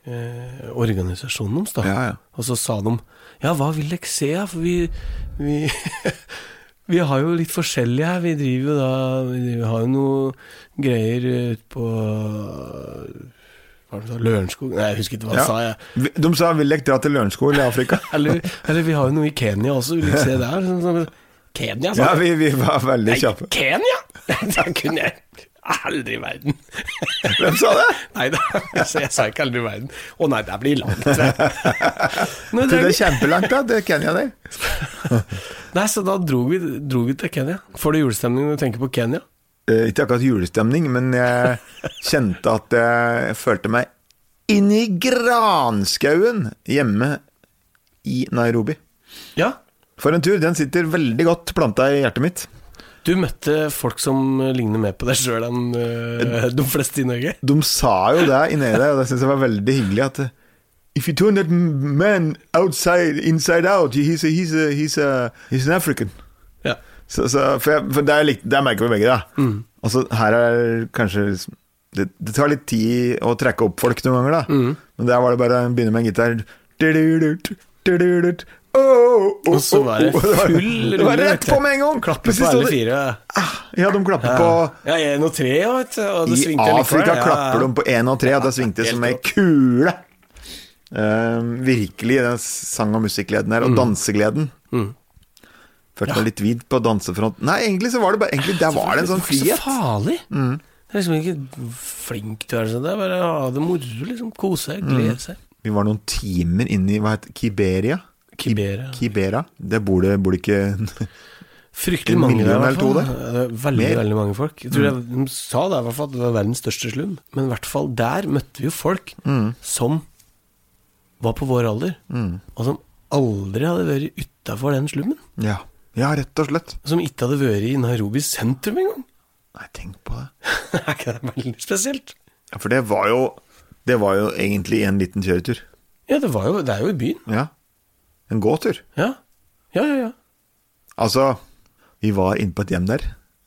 B: eh, organisasjonen deres. da.
A: Ja, ja.
B: Og så sa de Ja, hva vil dere se? da? For vi, vi <laughs> Vi har jo litt forskjellig her. Vi driver jo da Vi driver, har jo noe greier ute på Hva var det du sa? Lørenskog? Nei, jeg husker ikke hva
A: Ja.
B: jeg sa. jeg
A: Vi- De sa 'vil dere dra til Lørenskog i
B: <laughs>
A: Afrika'?
B: eller, eller vi har jo noe i Kenya også, vil du ikke se der? Sånn, sånn, Kenya, sa
A: ja, vi, vi var veldig kjappe.
B: Kenya! <laughs> Det kunne jeg aldri i verden. <laughs>
A: Hvem sa det?
B: Nei da, altså, jeg sa ikke aldri i verden. Å nei, det blir langt.
A: <laughs>
B: Nå,
A: Det er kjempelangt, da. Det er Kenya der.
B: <laughs> nei, så da dro vi, dro vi til Kenya. Får du julestemning når du tenker på Kenya?
A: Eh, ikke akkurat julestemning, men jeg kjente at jeg følte meg inni granskauen hjemme i Nairobi.
B: Ja.
A: For en tur, den sitter veldig godt planta i hjertet mitt.
B: Du møtte folk som ligner mer på deg sjøl enn øh, de fleste i Norge?
A: De sa jo det inni der, og det syns jeg var veldig hyggelig at eh, If you turn that man outside, inside out, he's, a, he's, a, he's, a, he's an African.
B: Ja.
A: Så, så, for jeg, for der, likte- der merker vi begge det.
B: Mm.
A: Altså, her er kanskje det, det tar litt tid å trekke opp folk noen ganger, da.
B: Mm.
A: Men der var det bare å begynne med en gitar. oh, Du-du-du-du, du-du-du-du. Åh, åh, åh,
B: Og så var
A: <laughs> åh,
B: det
A: åh. oh,
B: full
A: Det var
B: rulle,
A: rett
B: vet du.
A: på med en gang!
B: Klappet
A: Plutselig
B: på
A: sto
B: alle
A: det-
B: fire.
A: Ah, Ja, de klapper på
B: Ja, ja en og tre, ja, vet du. Og det
A: I
B: svingte likevel.
A: Afrika
B: Ja, ja.
A: klapper de på én og tre, og det svingte som ei
B: helt
A: kule. Ehm, virkelig den sang- og musikkgleden her, og dansegleden. Følte meg litt vid på dansefronten. Nei, egentlig så var det bare Egentlig der var det en sånn
B: Det var
A: frihet. Mm.
B: ikke så farlig. Det er liksom ikke flink til å være sånn. Det er bare å ha det moro, liksom.
A: Mm.
B: Kose seg, glede seg.
A: Vi var noen timer inne i hva heter Kiberia?
B: Kibera.
A: Kibera. Det bor det, bor det ikke <laughs>
B: Fryktelig
A: en
B: mange der, i
A: million
B: hvert fall.
A: eller to
B: Det er Veldig,
A: Mer. Mm.
B: veldig mange folk. Jeg tror jeg, De sa det i hvert fall at det var verdens største slum, men i hvert fall der møtte vi jo folk
A: Mm.
B: som var på vår alder, og som aldri hadde vært utafor den slummen.
A: Ja. ja, rett og slett.
B: Som ikke hadde vært i Nairobi sentrum engang. <laughs>
A: Nei, tenk på det.
B: er ikke det veldig spesielt?
A: Ja, For det var jo Det var jo egentlig en liten kjøretur.
B: Ja, det, var jo, det er jo i byen.
A: Ja. En gåtur.
B: Ja, ja, ja. ja.
A: Altså, vi var inne på et hjem der.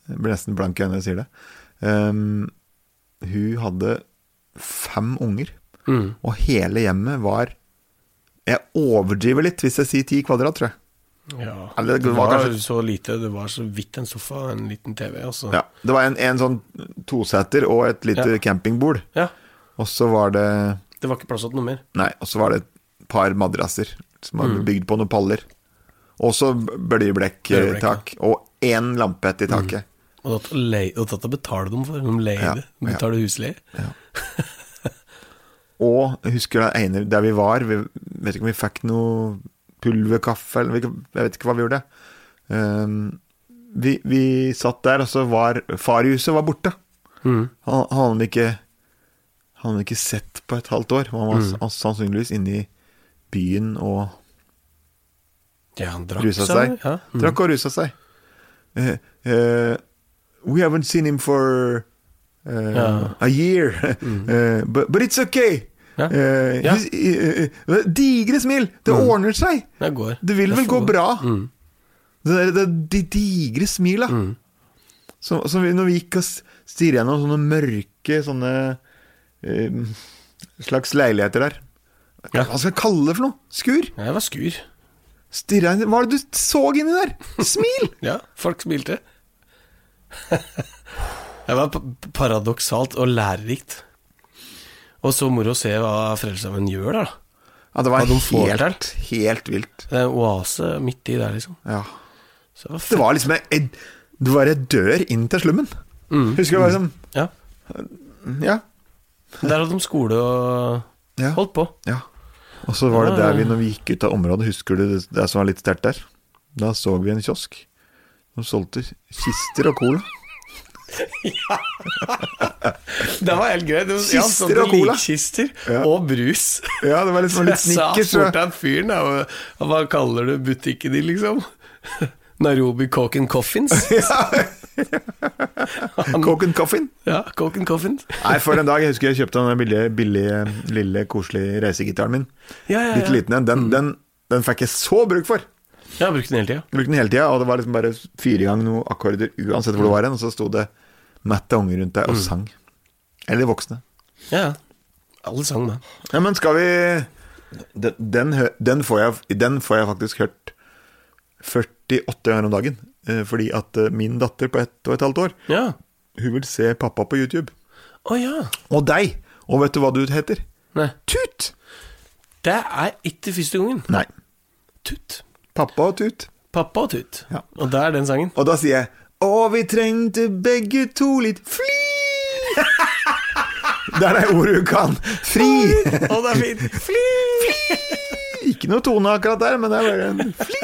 A: Jeg blir nesten blank i øynene når jeg sier det. Ehm, hun hadde fem unger,
B: Mm.
A: og hele hjemmet var Jeg overdriver litt hvis jeg sier ti kvadrat, tror jeg.
B: Ja.
A: Eller det
B: det
A: var
B: var
A: kanskje-
B: så lite, det var så vidt en sofa og en liten TV, altså.
A: Ja, det var en, en sånn toseter og et lite
B: Ja.
A: campingbord.
B: Ja,
A: Og så var det
B: Det var ikke plass til noe mer.
A: Nei, og så var det et par madrasser som var bygd på noen paller. Og så
B: Bøljeblekk, Mm. ja.
A: bøljeblekk-tak. Og én lampe til taket.
B: Og da le- og dette betaler de for, de leier
A: Ja,
B: det. De betaler husleie.
A: Og jeg husker det ene der vi var Vi vet ikke om vi fikk noe pulverkaffe eller hvilke- Jeg vet ikke hva vi gjorde. Ehm, vi, vi satt der, og så var Farhuset var borte.
B: Mm.
A: Han, han hadde ikke Han hadde ikke sett på et halvt år. Han var s- sannsynligvis inne i byen og
B: Ja, han drakk
A: rusa seg.
B: Ja. Mm.
A: Drakk og rusa seg. Eh, eh, we haven't seen him for eh,
B: Ja. Mm.
A: a
B: <laughs>
A: year, Eh, but, but it's okay.
B: Ja.
A: Eh,
B: Ja.
A: hus- eh, eh, digre smil! Det ordner seg!
B: Det går.
A: Det vil
B: Det
A: vel
B: får
A: gå bra?
B: Mm.
A: Det, der, det de digre smila.
B: Mm.
A: Som, som vi, når vi gikk og s- stirret gjennom sånne mørke sånne eh, slags leiligheter der.
B: Ja.
A: Hva skal jeg kalle det for noe? Skur?
B: Nei, det var skur.
A: Stirra inn Hva var det du så inni der? Smil!
B: Ja, folk smilte. <laughs> det var pa- paradoksalt og lærerikt. Og så moro å se hva Frelsesarmeen gjør, da.
A: Ja, det var
B: Ja, de får det
A: helt, helt vilt.
B: Det er en oase midt i der, liksom.
A: Ja.
B: Så det var
A: Det var liksom en- en, Det var en dør inn til slummen.
B: Mm.
A: Husker du hva som
B: fett. Ja. Mm.
A: Ja.
B: Der hadde de skole og
A: ja.
B: holdt på.
A: Ja. Og så var det
B: Ja, ja.
A: der vi, når vi gikk ut av området, husker du det, det som var litt sterkt der? Da så vi en kiosk. De solgte kister og
B: <laughs>
A: cola.
B: <laughs> Det var helt greit. Det var- ja,
A: Kister
B: sånn
A: og cola.
B: Likkister
A: Ja.
B: og brus.
A: Ja, det var
B: <laughs>
A: liksom litt
B: Jeg sa
A: snickers.
B: fort
A: og-
B: til han fyren da, og- og Hva kaller du butikken din, liksom? <laughs> Nairobi Coke
A: <laughs>
B: and Coffins.
A: Coke and coffin.
B: Ja, Coke and Coffins.
A: Nei, for en dag. Jeg husker jeg kjøpte den billige, billige lille, koselige reisegitaren min.
B: Ja, Mm. ja, ja.
A: Litt liten en. Den, den, den fikk jeg så bruk for.
B: Jeg har brukt den hele tida.
A: Jeg brukte den hele tida, og det var liksom bare fire ganger noen akkorder uansett hvor det var hen, og så sto det mette unger rundt deg og sang. Eller voksne.
B: Ja, ja. Alle sang med.
A: Ja, men skal vi Den, den, hø- den, får, jeg, den får jeg faktisk hørt 48 ganger om dagen. eh, Fordi at eh, min datter på ett og et halvt år,
B: Ja.
A: hun vil se pappa på YouTube.
B: Å ja.
A: Og deg! Og vet du hva du heter?
B: Nei.
A: Tut!
B: Det er ikke første gangen.
A: Nei.
B: Tut.
A: Pappa og Tut.
B: Pappa og Tut.
A: Ja.
B: Og det er den
A: <laughs>
B: sangen.
A: Og da sier jeg Å, vi trengte begge to litt fly! <laughs> det er det ordet hun kan. Fri!
B: Å, det er fint. Fly!
A: <laughs> Ikke noe tone akkurat der, men det er bare en fly!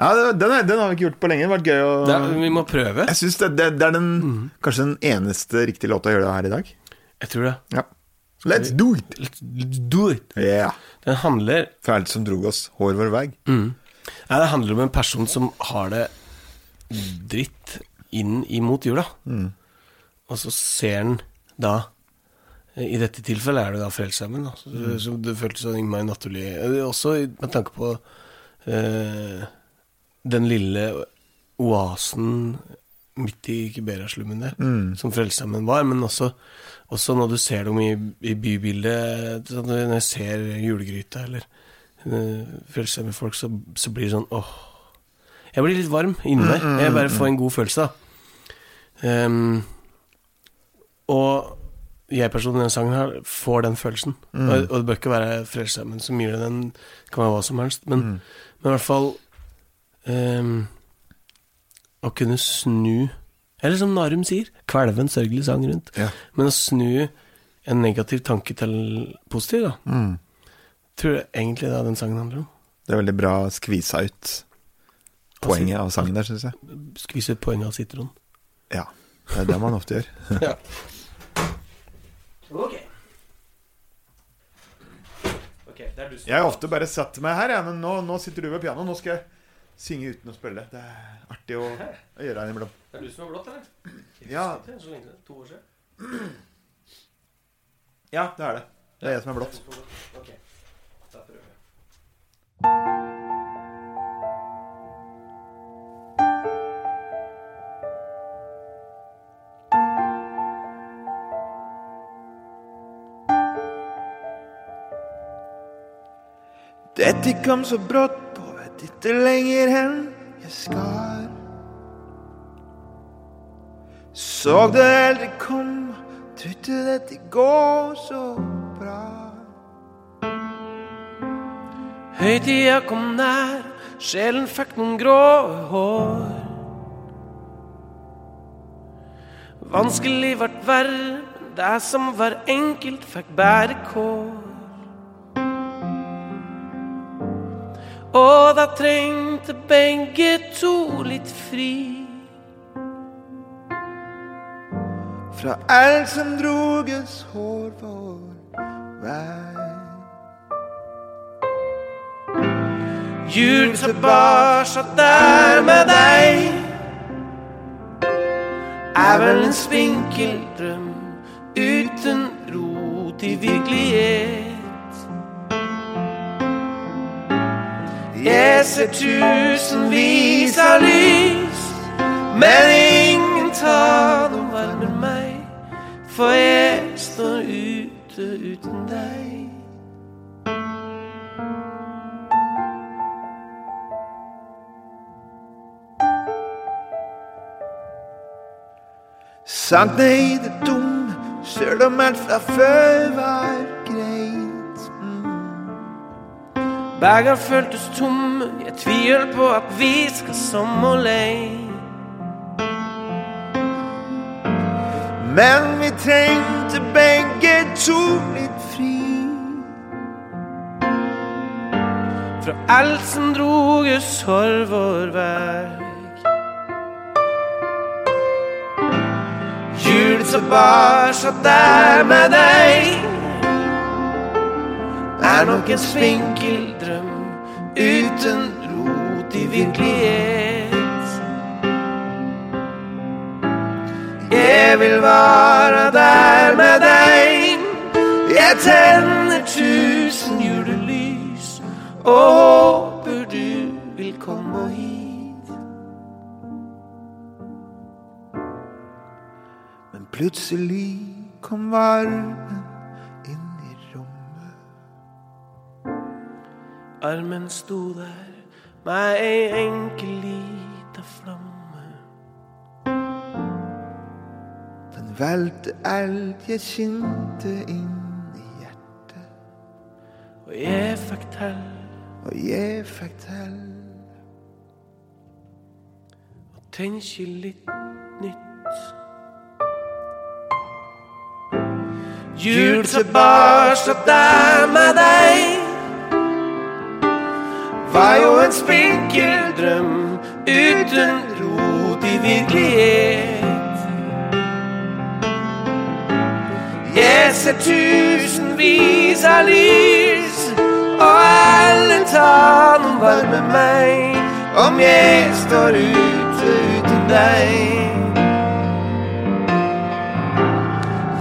A: Ja, det- den, er, den har vi ikke gjort på lenge. Det har vært gøy å
B: Det er, Mhm. vi må prøve.
A: Jeg syns det, det, det er den, kanskje den eneste riktige låta jeg gjør det her i dag.
B: Jeg tror det.
A: Ja. Let's do it!
B: Let's do it.
A: Ja.
B: Den handler
A: Fælt som drog oss hår vår vei.
B: Nei, det handler om en person som har det dritt inn imot jula. Og så ser han da I dette tilfellet er det da Frelsesarmeen, da. Så, så det føltes sånn innmari naturlig. Eh, Også i- med tanke på eh, den lille oasen midt i Kibera-slummen der, som Frelsesarmeen var. Men også, også når du ser dem i, i bybildet, sånn, når jeg ser julegryta eller eh, Frelsesarmeen-folk, så, så blir det sånn åh. Jeg blir litt varm inni meg. Jeg bare får en god følelse, da. Ehm, og jeg-personen i den sangen her får den følelsen. Og, og det bør ikke være Frelsesarmeen som gir deg den, det kan være hva som helst.
A: Mm.
B: Men, men i hvert fall ehm, Å kunne snu Eller som Narum sier, kvelve en sørgelig sang rundt.
A: Ja.
B: Men å snu en negativ tanke til positiv, da,
A: Mm.
B: tror jeg egentlig det er den sangen handler om.
A: Det er veldig bra skvisa ut
B: Altså-
A: poenget av sangen der, syns jeg.
B: Skvise ut poenget av sitron.
A: Ja, det er det man ofte gjør.
B: ja. okay. det er du
A: Jeg har ofte bare satt meg her, jeg, men nå, nå sitter du ved pianoet. Nå skal jeg synge uten å spille. Det er artig å, å gjøre innimellom.
B: som har blått, eller?
A: Ja, ja, det er det. Det er jeg som er blått. Dette kom så brått på et ikke lenger enn jeg skar. Såg det aldri komme, trodde dette går så bra.
B: Høytida kom nær, sjelen fikk noen grå hår. Vanskelig vart verre, men det som var enkelt, fikk bære kår. Og da trengte begge to litt fri.
A: Fra alt som droges hår vår vei.
B: Jul tilbake der med deg Er vel en spinkel drøm Uten rot i virkelighet Jeg ser tusenvis av lys Men ingen tar noe varme meg For jeg står ute uten deg
A: Sank ned i det dumme, sjøl om alt fra før var greit.
B: Bager føltes tomme, jeg tviler på at vi skal sommerleie.
A: Men vi trengte begge to litt fri.
B: Fra alt som droges for vår vei. Jul tilbake så der med deg er nok en spinkel drøm uten rot i virkelighet.
A: jeg vil være der med deg. Jeg tenner tusen julelys og håper du vil komme hit. Men plutselig kom varmen inn i rommet. Armen sto der, meg ei enkel lita flamme. Den valgte alt jeg kjente inn i hjertet. Og jeg fikk til. Og jeg fikk til. Og tenke litt nytt. Jul tilbake og der med deg var jo en spinkel drøm uten rot i virkelighet. Jeg ser tusenvis av lys, og alle tar noen varme meg om jeg står ute uten deg.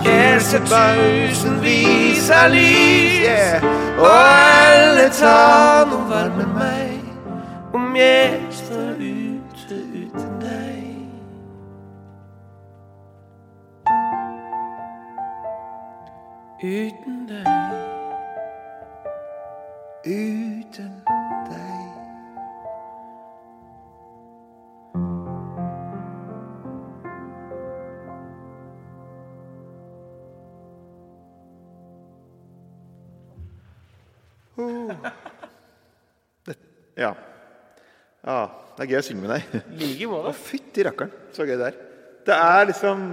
A: Jeg ser tusenvis av lys, og alle tar noen varme meg om jeg står ute uten deg. Uten deg. Uten deg. Oh. Ja. ja. Det er gøy å synge med deg.
C: like måte.
A: Å, fytti rakkeren, så gøy det er. Det er liksom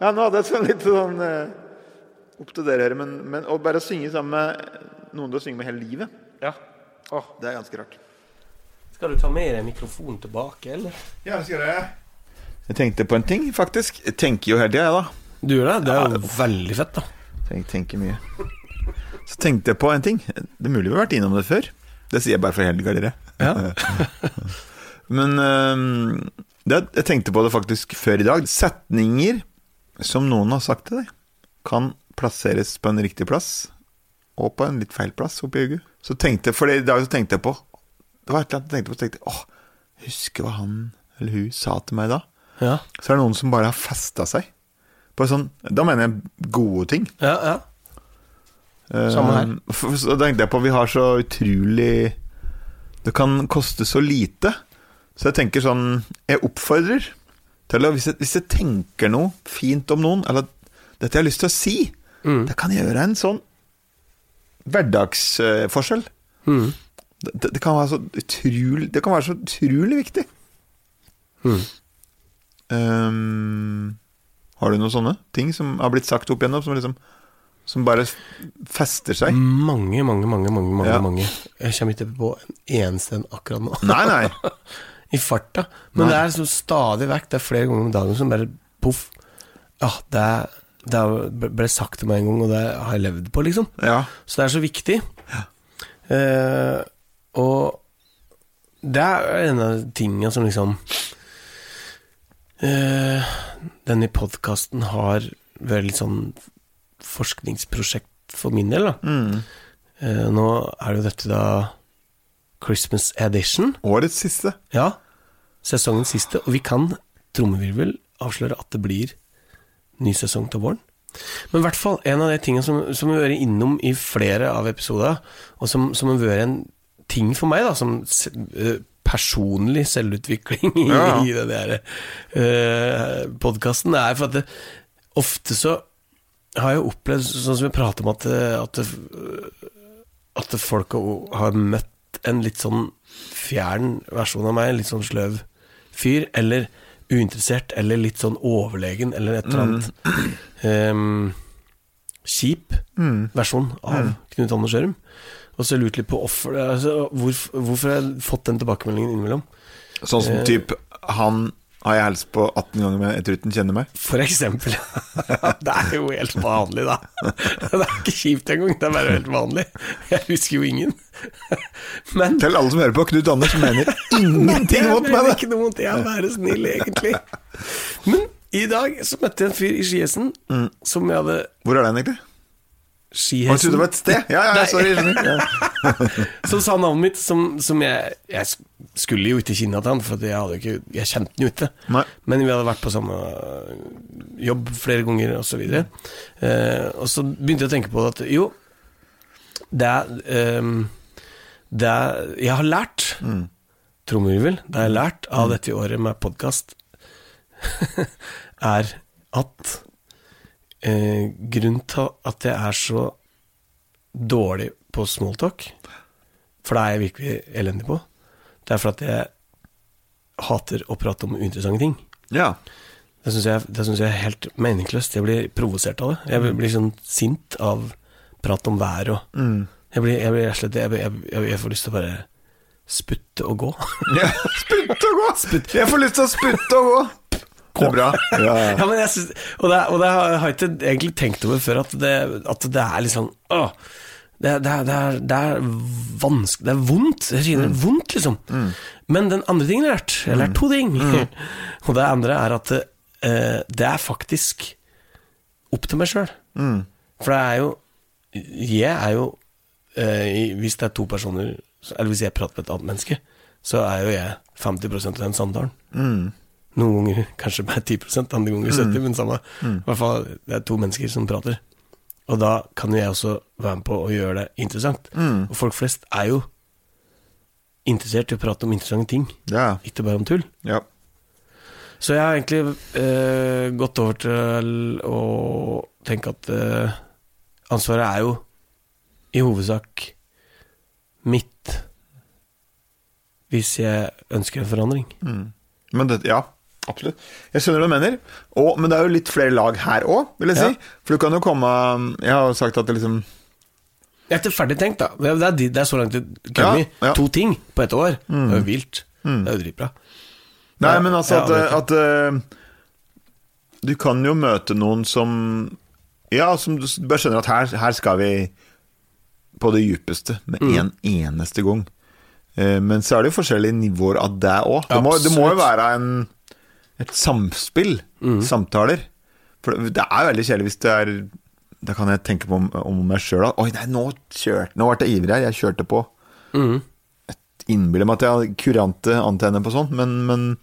A: Ja, nå hadde jeg sånn litt sånn eh, Opp til dere, men, men å bare synge sammen med noen du har sunget med hele livet,
C: Ja. Åh.
A: det er ganske rart.
B: Skal du ta med deg mikrofonen tilbake, eller?
A: Ja, jeg skal gjøre det. Jeg tenkte på en ting, faktisk. Jeg tenker jo hele tida, jeg, da.
B: Du gjør det? Det er jo veldig fett, da.
A: Tenk, tenker mye. Så tenkte jeg på en ting. Det er mulig vi har vært innom det før. Det sier jeg bare for helga, dere. <laughs> Men øhm, det, jeg tenkte på det faktisk før i dag. Setninger som noen har sagt til deg, kan plasseres på en riktig plass og på en litt feil plass oppi hodet. Så tenkte jeg, for i dag så tenkte jeg på Det var et eller annet jeg tenkte på, så tenkte jeg åh, husker hva han eller hun sa til meg da?
B: Ja,
A: Så er det noen som bare har festa seg på en sånn Da mener jeg gode ting.
B: ja. ja. Samme her.
A: Eh, for- for Så tenkte jeg på Vi har så utrolig Det kan koste så lite Så jeg tenker sånn Jeg oppfordrer til å, hvis, jeg, hvis jeg tenker noe fint om noen Eller dette jeg har lyst til å si
B: Mm.
A: Det kan gjøre en sånn Hverdagsforskjell
B: Mm.
A: det, det, det kan være så utrolig Det kan være så utrolig viktig
B: Mm.
A: Ehm, Har du noen sånne ting Som har blitt sagt opp igjennom Som liksom som bare f- fester seg.
B: Mm. Mange, mange, mange, mange. mange,
A: Ja.
B: mange. Jeg kommer ikke på en eneste en akkurat nå.
A: Nei, nei.
B: I farta.
A: Nei.
B: Men det er så stadig vekk. Det er flere ganger om dagen som bare poff. Ja, det, er- det er- ble sagt til meg en gang, og det har jeg levd på, liksom.
A: Ja.
B: Så det er så viktig. Eh, og det er en av tingene som liksom eh, Denne podkasten har vært litt sånn forskningsprosjekt for min del, da.
A: Mm.
B: Eh, nå er det jo dette da Christmas edition.
A: Årets siste.
B: Ja, sesongens siste. Og vi kan, trommevirvel, avsløre at det blir ny sesong til våren. Men i hvert fall, en av de tingene som, som har vært innom i flere av episoder, og som, som har vært en ting for meg, da, som se- eh, personlig selvutvikling i,
A: Ja, ja.
B: i den der eh, podkasten, er for at det, ofte så har jeg opplevd, sånn som vi prater om, at, det- at, det- at det folk har- har møtt en litt sånn fjern versjon av meg, litt sånn sløv fyr, eller uinteressert, eller litt sånn overlegen, eller et eller annet ehm, kjip
A: Mm.
B: versjon av Knut Anders Gjørum. Og så lurte jeg litt på hvorfor, altså, hvorf- hvorfor jeg har fått den tilbakemeldingen innimellom.
A: Sånn som
B: Eh.
A: typ Han har jeg helst på 18 ganger med etter uten kjenner meg.
B: For eksempel. <laughs> det er jo helt vanlig, da. Det er ikke kjipt engang, det er bare helt vanlig. Jeg husker jo ingen. <laughs> Men
A: Til alle som hører på, Knut <laughs> Anders mener ingenting mot
B: Jeg mener
A: meg.
B: Ikke noe vondt, jeg er bare snill, egentlig. Men I dag så møtte jeg en fyr i Skiesen som jeg hadde
A: Hvor er den egentlig? Å, Jeg
B: Skiesen
A: trodde det var et sted! Ja, ja,
B: Nei.
A: ja, sorry. skjønner. <laughs> Ja.
B: som sa navnet mitt, som, som jeg Jeg sk- skulle jo ikke kinna til han, for at jeg, hadde jo ikke, jeg kjente han jo ikke.
A: Nei.
B: Men vi hadde vært på samme øh, jobb flere ganger, og så videre. Eh, og så begynte jeg å tenke på at jo, det er ehm, Det er Jeg har lært mm. trommevirvel. Det jeg har lært av dette året med podkast, <laughs> er at eh, Grunnen til at jeg er så dårlig på smalltalk, for det er jeg virkelig elendig på, det er for at jeg hater å prate om uinteressante ting.
A: ja.
B: Det syns jeg, det synes jeg er helt meningsløst. Jeg blir provosert av det. Jeg blir sånn sint av prat om vær og
A: Mm.
B: Jeg blir jeg blir rett og slett jeg, jeg, jeg, jeg får lyst til å bare Sputte og gå.
A: <laughs>
B: <laughs>
A: ja. Sputte og gå! Jeg får lyst til å sputte og gå! Det er bra. Ja, ja.
B: ja, men jeg synes, og, det, og det har jeg ikke egentlig tenkt over før, at det, at det er litt sånn åh, det, er- det, er- det, er, det er vanskelig Det er vondt. Jeg sier det er vondt, liksom. Men den andre tingen jeg har lært Jeg har lært to ting. <laughs> og det andre er at eh, det er faktisk opp til meg sjøl.
A: Mm.
B: For det er jo Jeg er jo eh, i- Hvis det er to personer Eller hvis jeg prater med et annet menneske Så er jo jeg 50% av den samtalen
A: Mm.
B: Noen ganger kanskje bare 10% Andre ganger 70% Men samme I hvert fall det er to mennesker som prater Og da kan jo jeg også være med på Å gjøre det interessant
A: Mm.
B: Og folk flest er jo Interessert i å prate om interessante ting
A: ja.
B: Ikke bare om tull
A: ja.
B: så jeg har egentlig eh, gått over til å tenke at eh, ansvaret er jo i hovedsak mitt hvis jeg ønsker en forandring.
A: Men det, ja, absolutt. Jeg skjønner hva du mener. Og, men det er jo litt flere lag her òg, vil jeg
B: Ja.
A: si. For du kan jo komme Jeg har jo sagt at det liksom
B: Jeg er ikke ferdig tenkt, da. Det er, det er, de- det er så langt det kommer.
A: Ja, Mm. ja.
B: To ting på ett år. Det er jo vilt. Det er jo dritbra.
A: Nei,
B: Ja,
A: men altså
B: ja,
A: at, at eh, Du kan jo møte noen som Ja, som du s- bare skjønner at her, her skal vi på det djupeste med en eneste gang. Eh, Men så er det jo forskjellige nivåer av det òg. Det, må- det må jo
B: Absolutt.
A: være en, et samspill. Samtaler. For det det er jo veldig kjedelig hvis det er Da kan jeg tenke på om, om meg sjøl at Oi, nei, nå kjørte Nå ble jeg ivrig her. Jeg kjørte på. Jeg innbiller meg at jeg har kurante antenner på sånt, men Men,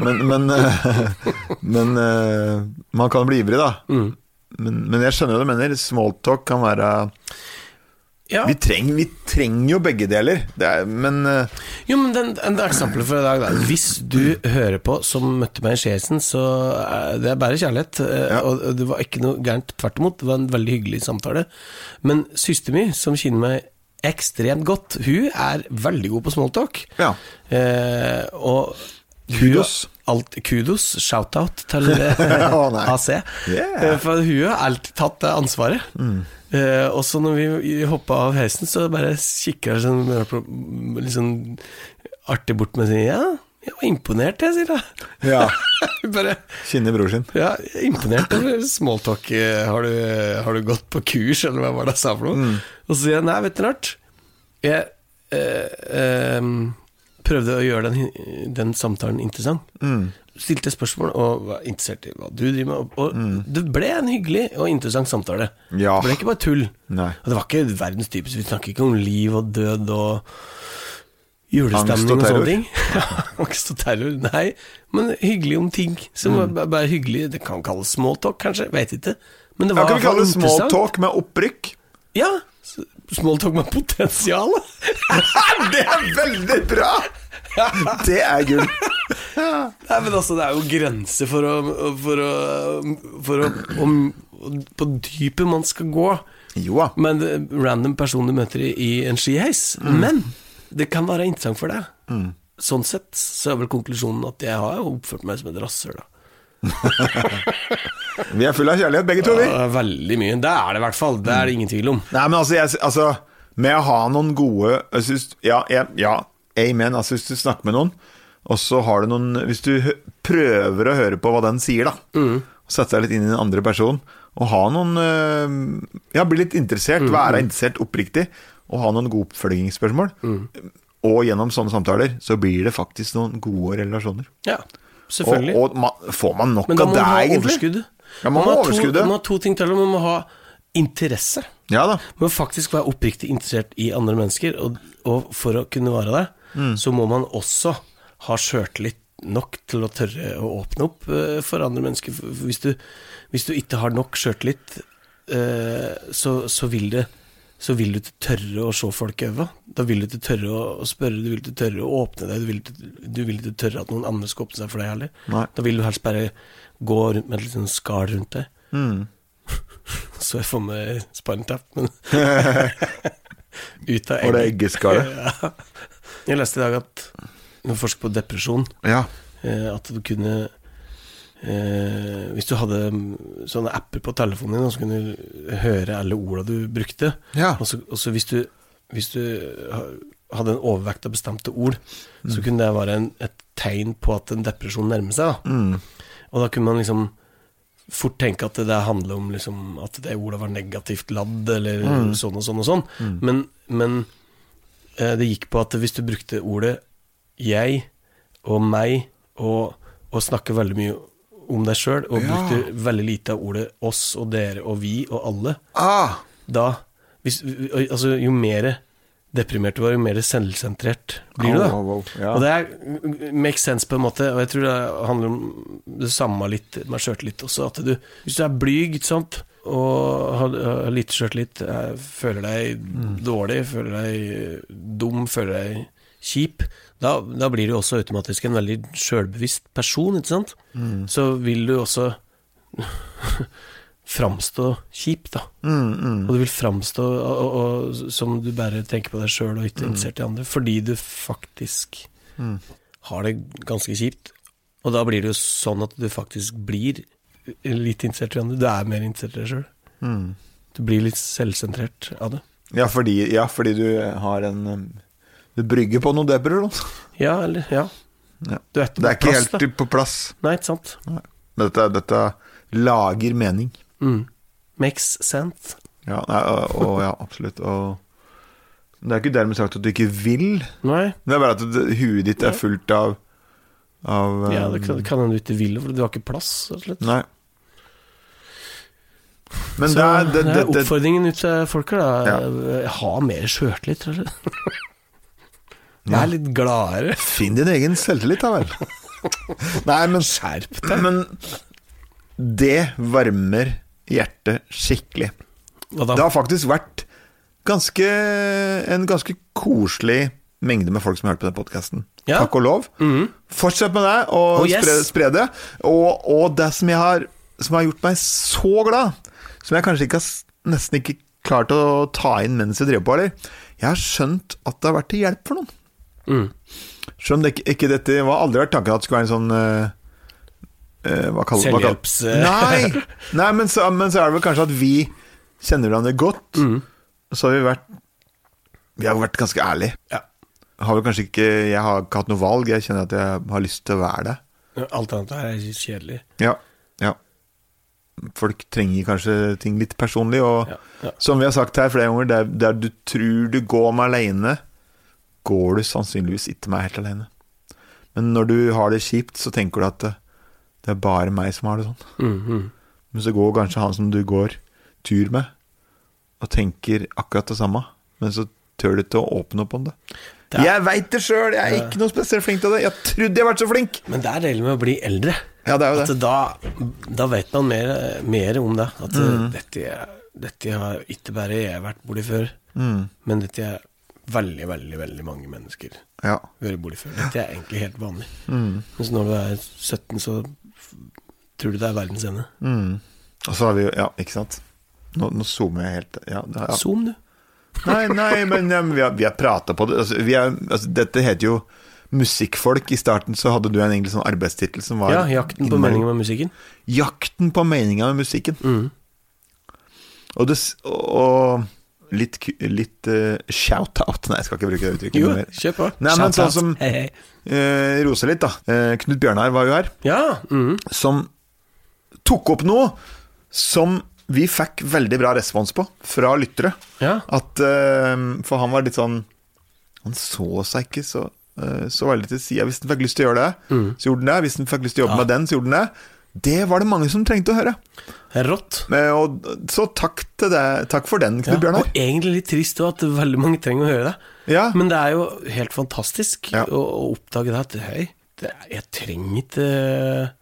A: men, men, eh, men eh, man kan bli ivrig, da. Men, men jeg skjønner hva du mener. Smalltalk kan være
B: Ja.
A: vi, treng, vi trenger jo begge deler. Det er, men eh,
B: Jo, men den, den, det er eksempelet for i dag, da. Hvis du hører på som møtte meg i Skiesen, så eh, det er bare kjærlighet. eh, Og og det var ikke noe gærent, tvert imot. Det var en veldig hyggelig samtale. Men søsteren min, som kjenner meg ekstremt godt, hun er veldig god på smalltalk.
A: Ja.
B: Eh, og
A: Kudos.
B: Hun, alt, kudos, shout-out
A: <laughs>
B: til eh,
A: Å, nei.
B: AC.
A: Yeah.
B: Eh, For hun har alltid tatt det ansvaret. Eh, og så når vi hoppa av heisen, så bare kikka hun sånn, mer på- litt sånn artig bort med og sier Ja, jeg var imponert, jeg, sier hun. <laughs>
A: ja.
B: Hun bare
A: Kjenner bror sin.
B: Ja, jeg er imponert over smalltalk. Eh, Har du, har du gått på kurs, eller hva var det jeg sa for noe? Og så sier jeg nei, vet du rart. Jeg eh, em, prøvde å gjøre den, den samtalen interessant. Stilte spørsmål og var interessert i hva du driver med. Og, og det ble en hyggelig og interessant samtale.
A: Ja.
B: Det ble ikke bare tull.
A: Nei.
B: Og det var ikke verdens typisk. Vi snakker ikke om liv og død og
A: Angst
B: julestemning
A: og
B: og,
A: terror.
B: sånne ting. <laughs> Ja, Angst og terror, nei. Men hyggelig om ting som
A: Mm.
B: er bare- bare hyggelig. Det kan kalles smalltalk, kanskje. Vet ikke. Men det
A: Ja,
B: var altså
A: kan vi kalle det
B: interessant.
A: smalltalk med opprykk?
B: Ja. s- Smalltalk med potensial. <laughs>
A: Det er veldig bra! Det er <laughs> gull.
B: Nei, men altså, det er jo grenser for å For å, for å om, På dypet man skal gå.
A: Jo da.
B: Men det- random person du møter i, i en skiheis.
A: Mm.
B: Men det kan være interessant for deg. Sånn sett så er vel konklusjonen at jeg har jo oppført meg som et rasshøl, da.
A: Vi er fulle av kjærlighet, begge to. vi
B: Ja, veldig mye. Det er det i hvert fall. Det
A: Mm.
B: er det ingen tvil om.
A: Nei, men altså, jeg, altså Med å ha noen gode jeg synes, ja, jeg, ja, amen. Altså, hvis du snakker med noen, og så har du noen Hvis du hø- prøver å høre på hva den sier, da,
B: Mm.
A: og setter deg litt inn i den andre personen, og ha noen øh, Ja, bli litt
B: Mm.
A: interessert, være interessert oppriktig, og ha noen gode
B: Mm.
A: oppfølgingsspørsmål. Og gjennom sånne samtaler så blir det faktisk noen gode relasjoner.
B: Ja. selvfølgelig.
A: Og, og ma- får man nok
B: Men da
A: av
B: må
A: det,
B: man ha
A: egentlig?
B: overskudd.
A: Ja, man må
B: ha
A: ha
B: to,
A: overskuddet.
B: man må ha to ting til, men man må ha interesse.
A: Ja da.
B: Man må faktisk være oppriktig interessert i andre mennesker, og, og for å kunne være det, så må man også ha sjøltillit nok til å tørre å åpne opp eh, for andre mennesker. For- for Hvis du, hvis du ikke har nok sjøltillit, eh, så, så vil det så vil du ikke tørre å se folk i øynene. Da vil du ikke tørre å å spørre, du vil ikke tørre å åpne deg, du vil ikke, du vil ikke tørre at noen andre skal åpne seg for deg heller.
A: Nei.
B: Da vil du helst bare gå rundt med et lite sånn skall rundt deg.
A: Mm.
B: Så jeg får meg Spinal Tap,
A: <laughs>
B: men Ut av egg.
A: Var det eggeskallet?
B: ja. Jeg leste i dag at når forsker på depresjon,
A: Ja.
B: eh, at du kunne eh, Hvis du hadde mm, sånne apper på telefonen din, og så kunne du høre alle orda du brukte,
A: Ja.
B: og så, og så hvis, du, hvis du ha- hadde en overvekt av bestemte ord, så
A: Mm.
B: kunne det være en, et tegn på at en depresjon nærmer seg. Da.
A: Mm.
B: Og da kunne man liksom fort tenke at det der handler om liksom, at det ordet var negativt ladd, eller sånn og sånn og sånn.
A: Mm.
B: Men, men eh, det gikk på at hvis du brukte ordet jeg og meg, og, og snakker veldig mye om deg sjøl, og
A: Ja.
B: brukte veldig lite av ordet oss og dere og vi og alle,
A: Ah,
B: da hvis, altså, Jo mer deprimert du var, jo mer selvsentrert blir du, da.
A: Au, au, au. Ja.
B: Og det er, makes sense på en måte, og jeg tror det handler om det samme litt med sjøltillit også. At du, hvis du er blyg ikke sant, og har, har lite sjøltillit, er- føler deg dårlig, føler deg eh, dum, føler deg kjip, da, da blir du også automatisk en veldig sjølbevisst person, ikke sant?
A: Mm,
B: Så vil du også <laughs> framstå kjip, da.
A: mm, mm.
B: Og du vil framstå og, og, og, som du bare tenker på deg sjøl og ikke interessert i andre, fordi du faktisk
A: Mm.
B: har det ganske kjipt. Og da blir det jo sånn at du faktisk blir litt interessert i andre. Du er mer interessert i deg sjøl.
A: Mm.
B: Du blir litt selvsentrert av det.
A: Ja, fordi, ja, fordi du har en um, Du brygger på noe <laughs> debrer, da.
B: Ja, eller Ja.
A: Ja.
B: Du er ikke
A: Det er
B: på
A: ikke
B: plass, da.
A: helt på plass.
B: Nei, ikke sant.
A: Dette, dette lager mening.
B: Mm. Makes sense.
A: Ja, nei, og, og, ja absolutt. Og det er ikke dermed sagt at du ikke vil.
B: Nei.
A: Det er bare at det, huet ditt er fullt av, av
B: Ja,
A: um,
B: det kan det kan hende du ikke vil, for du har ikke plass, rett og slett.
A: Nei. Men
B: Så
A: det er, det, det, det,
B: oppfordringen ut til folka, da. Eh, Ha mer sjøltillit, rett
A: <laughs>
B: og slett. Vær litt gladere.
A: Finn din egen selvtillit, da
B: <laughs>
A: vel. Nei, men,
B: Skjerp
A: men det varmer hjertet skikkelig.
B: Og
A: Det
B: da,
A: har faktisk vært ganske, en ganske koselig mengde med folk som har hørt på den podkasten.
B: Ja. Mm.
A: Takk og lov. Fortsett med det, og
B: Oh, yes.
A: spre, spre det. Og, og det som, jeg har, som har gjort meg så glad, som jeg kanskje ikke har, s- nesten ikke klart å ta inn mens jeg drev på, eller Jeg har skjønt at det har vært til hjelp for noen.
B: mm.
A: Selv om det ikke, ikke dette var aldri vært tanken at det skulle være en sånn eh, eh, hva kaller, hva kaller-
B: Selvhjelps, eh.
A: Nei, nei men, så, men så er det vel kanskje at vi kjenner hverandre godt.
B: Mm.
A: Så har vi vært Vi har vært ganske ærlige.
B: Ja.
A: Har vel kanskje ikke Jeg har ikke hatt noe valg. Jeg kjenner at jeg har lyst til å være det.
B: Alt annet her er kjedelig.
A: Ja, ja. Folk trenger kanskje ting litt personlig, og
B: Ja, ja.
A: som vi har sagt her flere ganger, der, der du tror du går med alene, går du sannsynligvis ikke med helt alene. Men når du har det kjipt, så tenker du at det, det er bare meg som har det sånn.
B: Mm, mm.
A: Men så går kanskje han som du går tur med, og tenker akkurat det samme, men så tør du ikke å åpne opp om det.
B: Det er-
A: Jeg veit det sjøl, jeg er ikke noe spesielt flink til det. Jeg trodde jeg var så flink!
B: Men det er deilig med å bli eldre.
A: Ja, det er jo
B: At
A: det.
B: da, da vet man mer, mer om det. At eh,
A: Mhm.
B: dette, dette har ikke bare jeg vært borti før,
A: Mm,
B: men dette er veldig, veldig veldig mange mennesker
A: ja.
B: vært borti før. Dette er egentlig helt vanlig.
A: Mhm.
B: Mens når du er 17, så f- tror du det er verdens ende.
A: Mm. Og så har vi jo Ja, ikke sant? Nå, nå zoomer jeg helt ja, det, ja.
B: Zoom, du.
A: Nei, nei, men ja, men vi har, vi har prata på det. Altså, vi er, altså, dette heter jo Musikkfolk. I starten så hadde du en egentlig sånn arbeidstittel som var
B: Ja, 'Jakten på
A: innmari-
B: meningen med musikken'.
A: Jakten på meninga med musikken.
B: Mm.
A: Og, det, s- og litt, ku- litt eh, shout-out Nei, jeg skal ikke bruke det uttrykket
B: Jo,
A: noe mer.
B: kjør på.
A: Nei, men
B: Shout
A: sånn
B: out.
A: som-
B: Hei, hei.
A: Eh, rose litt, da. Eh, Knut Bjørnar var jo her.
B: Ja. Mm.
A: som tok opp noe som vi fikk veldig bra respons på fra lyttere.
B: ja.
A: At, eh, for han var litt sånn Han så seg ikke så eh, så veldig til sida hvis den fikk lyst til å gjøre det.
B: Mm.
A: Så gjorde den det. Hvis den fikk lyst til å jobbe med den, så gjorde den det. Det var det mange som trengte å høre.
B: Rått.
A: Men, og, så takk til deg. Takk for den, Knut
B: Ja,
A: Bjørnar.
B: og egentlig litt trist også at veldig mange trenger å høre det.
A: Ja.
B: Men det er jo helt fantastisk
A: Ja.
B: å, å oppdage det at hei, det, er- jeg trenger ikke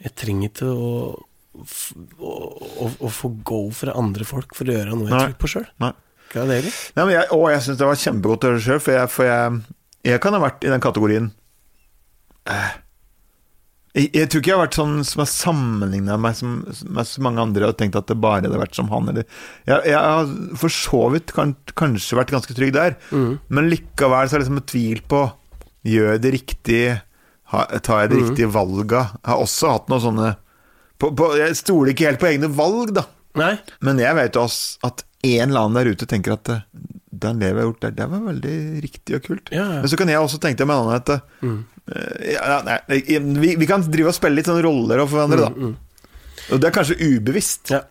B: Jeg trenger ikke å, f- å, å, å få go fra andre folk for å gjøre noe jeg
A: Nei.
B: tror på sjøl.
A: Nei.
B: Ikke det deilig?
A: Nei, men jeg, og jeg syns det var kjempegodt å høre sjøl, for, jeg, for jeg, jeg kan ha vært i den kategorien Eh, jeg, jeg tror ikke jeg har vært sånn som har sammenligna meg som, med så mange andre og tenkt at det bare hadde vært som han, eller Jeg, jeg har for så vidt kan, kanskje vært ganske trygg der, men likevel så er det liksom et tvil på Gjør jeg det riktig? Ha, tar jeg det riktige valga? Jeg har også hatt noen sånne på, på, Jeg stoler ikke helt på egne valg, da.
B: Nei.
A: Men jeg vet jo også at en eller annen der ute tenker at eh, den det vi har gjort der, det var veldig riktig og kult.
B: Ja, Mm. ja.
A: Men så kan jeg også tenke meg en annen at eh, ja, nei, vi, vi kan drive og spille litt sånne roller overfor hverandre,
B: Mm,
A: da. Og det er kanskje ubevisst.
B: Ja.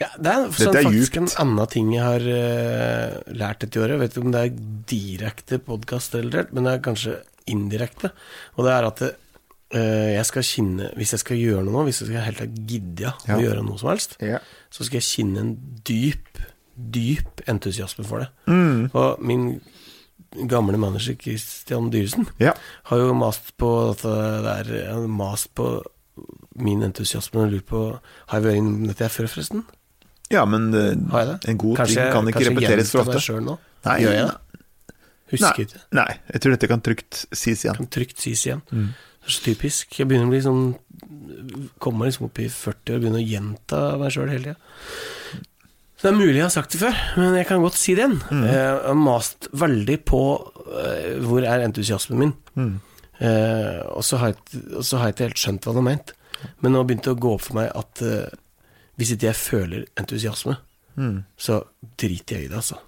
B: Ja, det er, for
A: Dette
B: sånn
A: er
B: faktisk
A: djupt.
B: en annen ting jeg har eh, lært dette året. Jeg vet ikke om det er direkte podkastrelatert, men det er kanskje indirekte. Og det er at det, eh, jeg skal kinne Hvis jeg skal gjøre noe nå, hvis jeg skal helt gidde ja, å
A: Ja.
B: gjøre noe som helst,
A: Ja.
B: så skal jeg kinne en dyp, dyp entusiasme for det.
A: Mm.
B: Og min gamle manager Christian Dyresen
A: Ja.
B: har jo mast på dette der han har Mast på min entusiasme og lurt på Har jeg vært innom dette her før, forresten?
A: Ja, men eh,
B: Har jeg det?
A: en god ting kan ikke
B: kanskje
A: repeteres for
B: gjentar meg
A: ofte.
B: selv nå?
A: Nei,
B: Gjør jeg det? Husker
A: nei,
B: ikke.
A: nei, jeg tror dette kan trygt sies igjen.
B: Kan trygt sies igjen. Det er så typisk. Jeg begynner å bli sånn Kommer liksom opp i 40 og begynner å gjenta meg sjøl hele tida. Så det er mulig jeg har sagt det før, men jeg kan godt si det igjen.
A: Mm.
B: Eh, Jeg har mast veldig på eh, hvor er entusiasmen min.
A: Mm.
B: Eh, og så har jeg ikke- og så har jeg ikke helt skjønt hva han har ment. Men nå begynte det å gå opp for meg at eh, hvis ikke jeg føler entusiasme,
A: Mm.
B: så driter jeg i det, altså.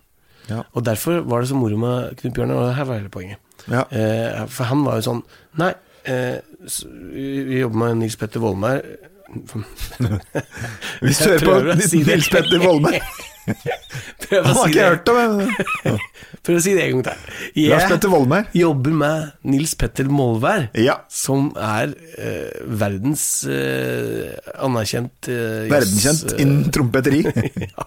A: Ja.
B: Og derfor var det så moro med Knut Bjørnar, og her var hele poenget.
A: Ja.
B: Eh, for han var jo sånn Nei, eh, s- vi vi jobber med Nils Petter Vollmer.
A: Hvis du
B: jeg
A: hører på
B: prøver å si det.
A: Nils Petter
B: <laughs>
A: Vollmer
B: Prøv
A: Han
B: å
A: har
B: si
A: ikke
B: det,
A: jeg hørt om, men
B: prøv å si det en gang til.
A: Lars
B: Jeg
A: Petter Vollmer.
B: jobber med Nils Petter Molvær,
A: Ja.
B: som er eh, verdens eh, anerkjent eh, jazz-
A: Verdenskjent
B: <laughs>
A: innen trompeteri.
B: ja.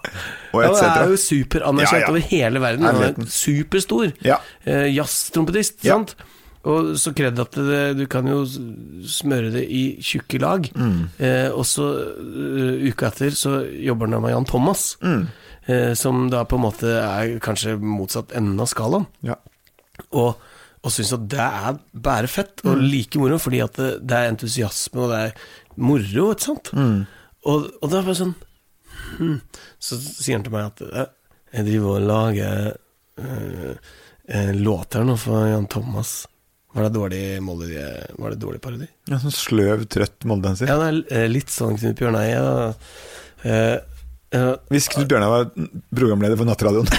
A: Og et
B: Ja, Han er
A: cetera.
B: jo superanerkjent
A: Ja, ja.
B: over hele verden. Han er
A: Herligheten.
B: superstor
A: Ja.
B: eh, jazztrompetist.
A: Ja.
B: sant? Og så kredd at det, du kan jo s- smøre det i tjukke lag.
A: Mm,
B: Eh, og så eh, uka etter så jobber han da med Jan Thomas,
A: mm,
B: eh, som da på en måte er kanskje motsatt enden av skalaen.
A: Ja.
B: Og, og syns at det er bare fett og
A: Mm.
B: like moro, fordi at det, det er entusiasme og det er moro, ikke sant?
A: mm.
B: Og, og det er bare sånn hm. Så sier han til meg at eh, jeg driver og lager eh, eh, låter nå for Jan Thomas. Var det dårlig, Molly, var det dårlig parodi?
A: Ja, sånn sløv, trøtt moldenser.
B: Ja, det er eh, litt sånn Knut Bjørnøy. Ja. Eh, eh,
A: Hvis Knut Bjørnar var programleder for
B: <laughs>
A: Nattradioen.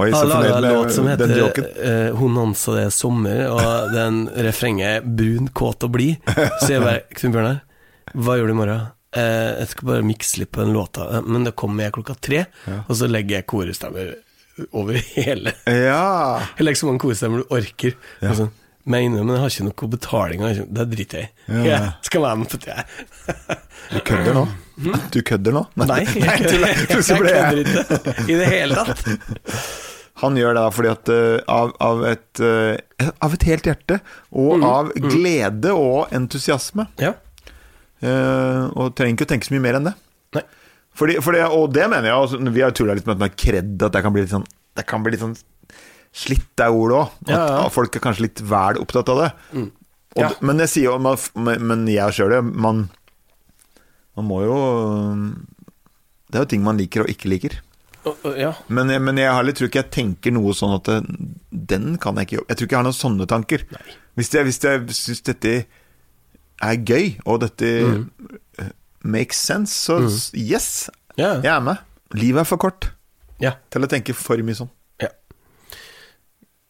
A: Oi, så
B: Han laga
A: fornøyd
B: en låt som
A: med den joken.
B: heter eh, 'Hun dansa det er sommer', og den refrenget er 'brun, kåt og blid'. Så jeg bare 'Knut Bjørnar, hva gjør du i morgen?' Eh, 'Jeg skal bare mikse litt på den låta, eh, men da kommer jeg klokka tre', og så legger jeg korestemmer over hele <laughs>
A: Ja,
B: Jeg legger så mange korestemmer du orker. Og sånn, men jeg innrømmer, jeg har ikke noe betaling, og jeg- det driter jeg i.
A: Ja.
B: Jeg skal være med på det.
A: du kødder nå? Du kødder nå?
B: Hmm? Nei, jeg,
A: tuller.
B: jeg
A: Plutselig ble jeg-
B: kødder ikke i det hele tatt.
A: <laughs> Han gjør det da fordi at eh, av, av, et, eh, av et helt hjerte, og
B: Mm.
A: av glede og entusiasme.
B: Ja.
A: Eh, og trenger ikke å tenke så mye mer enn det.
B: Nei.
A: Fordi, fordi, og det mener jeg, altså, vi har tulla litt med at med kredd at det kan bli litt sånn, det kan bli litt sånn slitt, det ordet òg. At
B: Ja, ja.
A: at folk er kanskje litt vel opptatt av det. Og,
B: Ja.
A: d- Men jeg sier jo, man, f- men men jeg sjøl, man, man må jo Det er jo ting man liker og ikke liker.
B: Og- og- ja.
A: Men, jeg- men jeg har litt, tror ikke jeg tenker noe sånn at det, den kan jeg ikke jobbe Jeg tror ikke jeg har noen sånne tanker. Hvis jeg, hvis jeg syns dette er gøy, og dette
B: Mm.
A: eh, makes sense, så s- yes,
B: Ja.
A: jeg er med. Livet er for kort
B: ja.
A: til å tenke for mye sånn.
B: ja.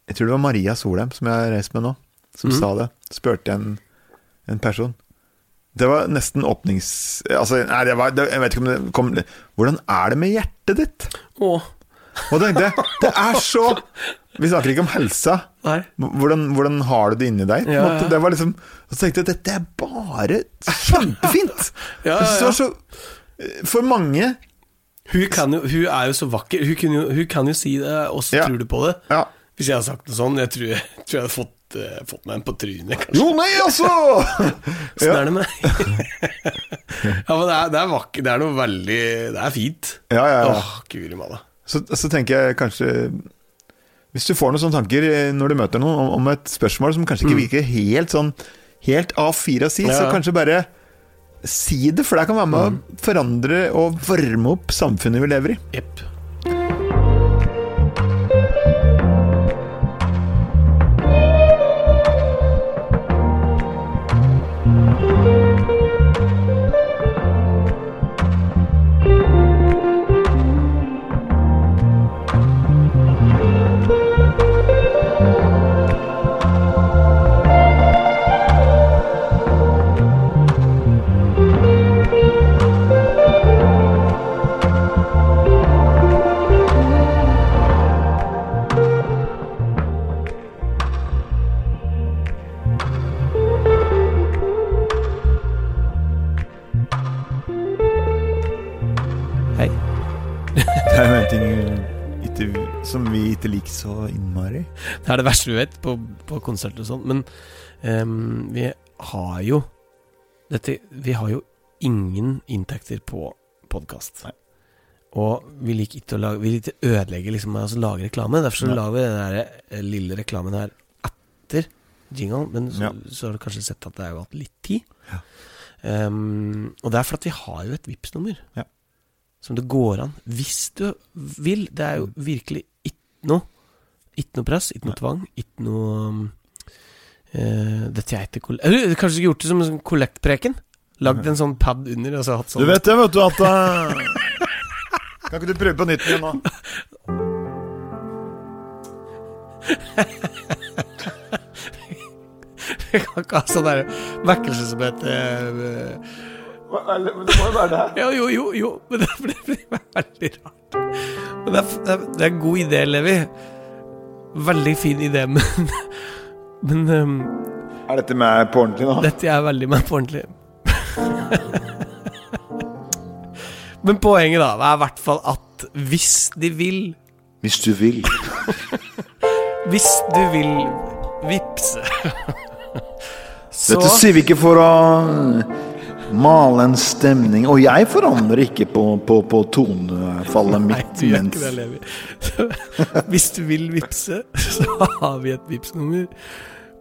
A: Jeg tror det var Maria Solheim som jeg har reist med nå, som sa det. Spurte en, en person. Det var nesten åpnings... Altså, nei, det var, det, jeg vet ikke om det kom Hvordan er det med hjertet ditt?
B: Å,
A: Og tenk det, det er så Vi snakker ikke om helsa.
B: Nei.
A: Hvordan, hvordan har du det inni deg? på en
B: Ja,
A: måte?
B: ja.
A: Det var liksom, og så tenkte jeg dette er bare kjempefint!
B: Ja,
A: Jeg synes det
B: ja,
A: var så, for mange
B: Hun, kan jo, hun er jo så vakker. Hun, kunne jo, hun kan jo si det, og så
A: Ja.
B: tror du på det.
A: ja.
B: Hvis jeg hadde sagt noe sånn, jeg tror jeg, tror jeg hadde fått, eh, fått meg en på trynet. kanskje.
A: Jo, nei, altså! <laughs>
B: Sånn
A: Ja,
B: er det med <laughs> Ja, men det er, det er vakkert. Det er noe veldig Det er fint.
A: ja, ja. ja.
B: Åh, guri malla.
A: Så, så tenker jeg kanskje Hvis du får noen sånne tanker eh, når du møter noen om, om et spørsmål som kanskje ikke virker helt sånn Helt A4 å si,
B: Ja.
A: så kanskje bare si det, for det kan være med å forandre og varme opp samfunnet vi lever i.
B: Jepp. Hei.
A: Det er jo en ting eh, ikke, som vi ikke liker så innmari.
B: Det er det verste vi vet på, på konserter og sånn. Men ehm, vi har jo dette, Vi har jo ingen inntekter på podkast.
A: Nei.
B: Og vi liker ikke å lage, vi liker ikke å ødelegge liksom, med å lage reklame. Derfor så
A: Nei.
B: lager vi den der, eh, lille reklamen her etter jingle. Men så,
A: Ja.
B: så har du kanskje sett at det er jo hatt litt tid.
A: Ja.
B: Ehm, og det er fordi at vi har jo et Vipps-nummer
A: Ja.
B: som det går an Hvis du vil. Det er jo
A: Mm.
B: virkelig ikke noe. Ikke noe press, ikke noe tvang, ikke noe um, eh, Dette jeg ikke koll- Eller, Kanskje du skulle gjort det som en sånn kollektpreken? Lagd en sånn pad under og så hatt sånn
A: det, vet du, at eh, <laughs> Kan ikke du prøve på nytt igjen nå?
B: <laughs> Jeg kan ikke ha sånn der vekkelse som heter eh,
A: Det må jo være det her.
B: <laughs> Ja, jo, jo, jo Men det blir det blir veldig rart. Men det er, det er, det er en god idé, Levi. Veldig fin idé, <laughs> men Men um,
A: Er dette med på ordentlig nå?
B: Dette er veldig meg på ordentlig. Men poenget da er i hvert fall at hvis de vil
A: Hvis du vil.
B: Hvis du vil vippse Så
A: Dette sier vi ikke for å male en stemning. Og jeg forandrer ikke på, på, på tonefallet
B: Nei,
A: mitt.
B: du gjør
A: mens-
B: ikke det, Levi. Så, Hvis du vil vippse, så har vi et vippsnummer.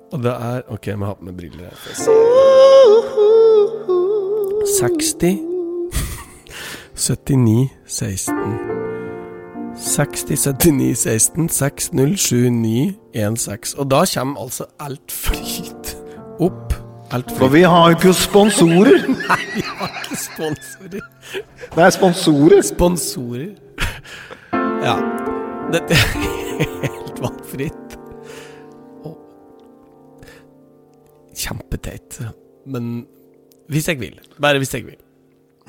B: Og det er Ok, jeg må ha på meg briller. her, for å se. 60 79 16 60 79 16 60 79 16 Og da kommer altså alt flyt opp. Alt
A: For
B: flyt.
A: vi har jo ikke
B: <laughs>
A: sponsorer.
B: Nei, vi har ikke sponsorer.
A: Det er sponsorer.
B: Sponsorer. Ja. Dette er helt valgfritt. Og kjempeteit. Men hvis jeg vil. Bare hvis jeg vil.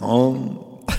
A: Og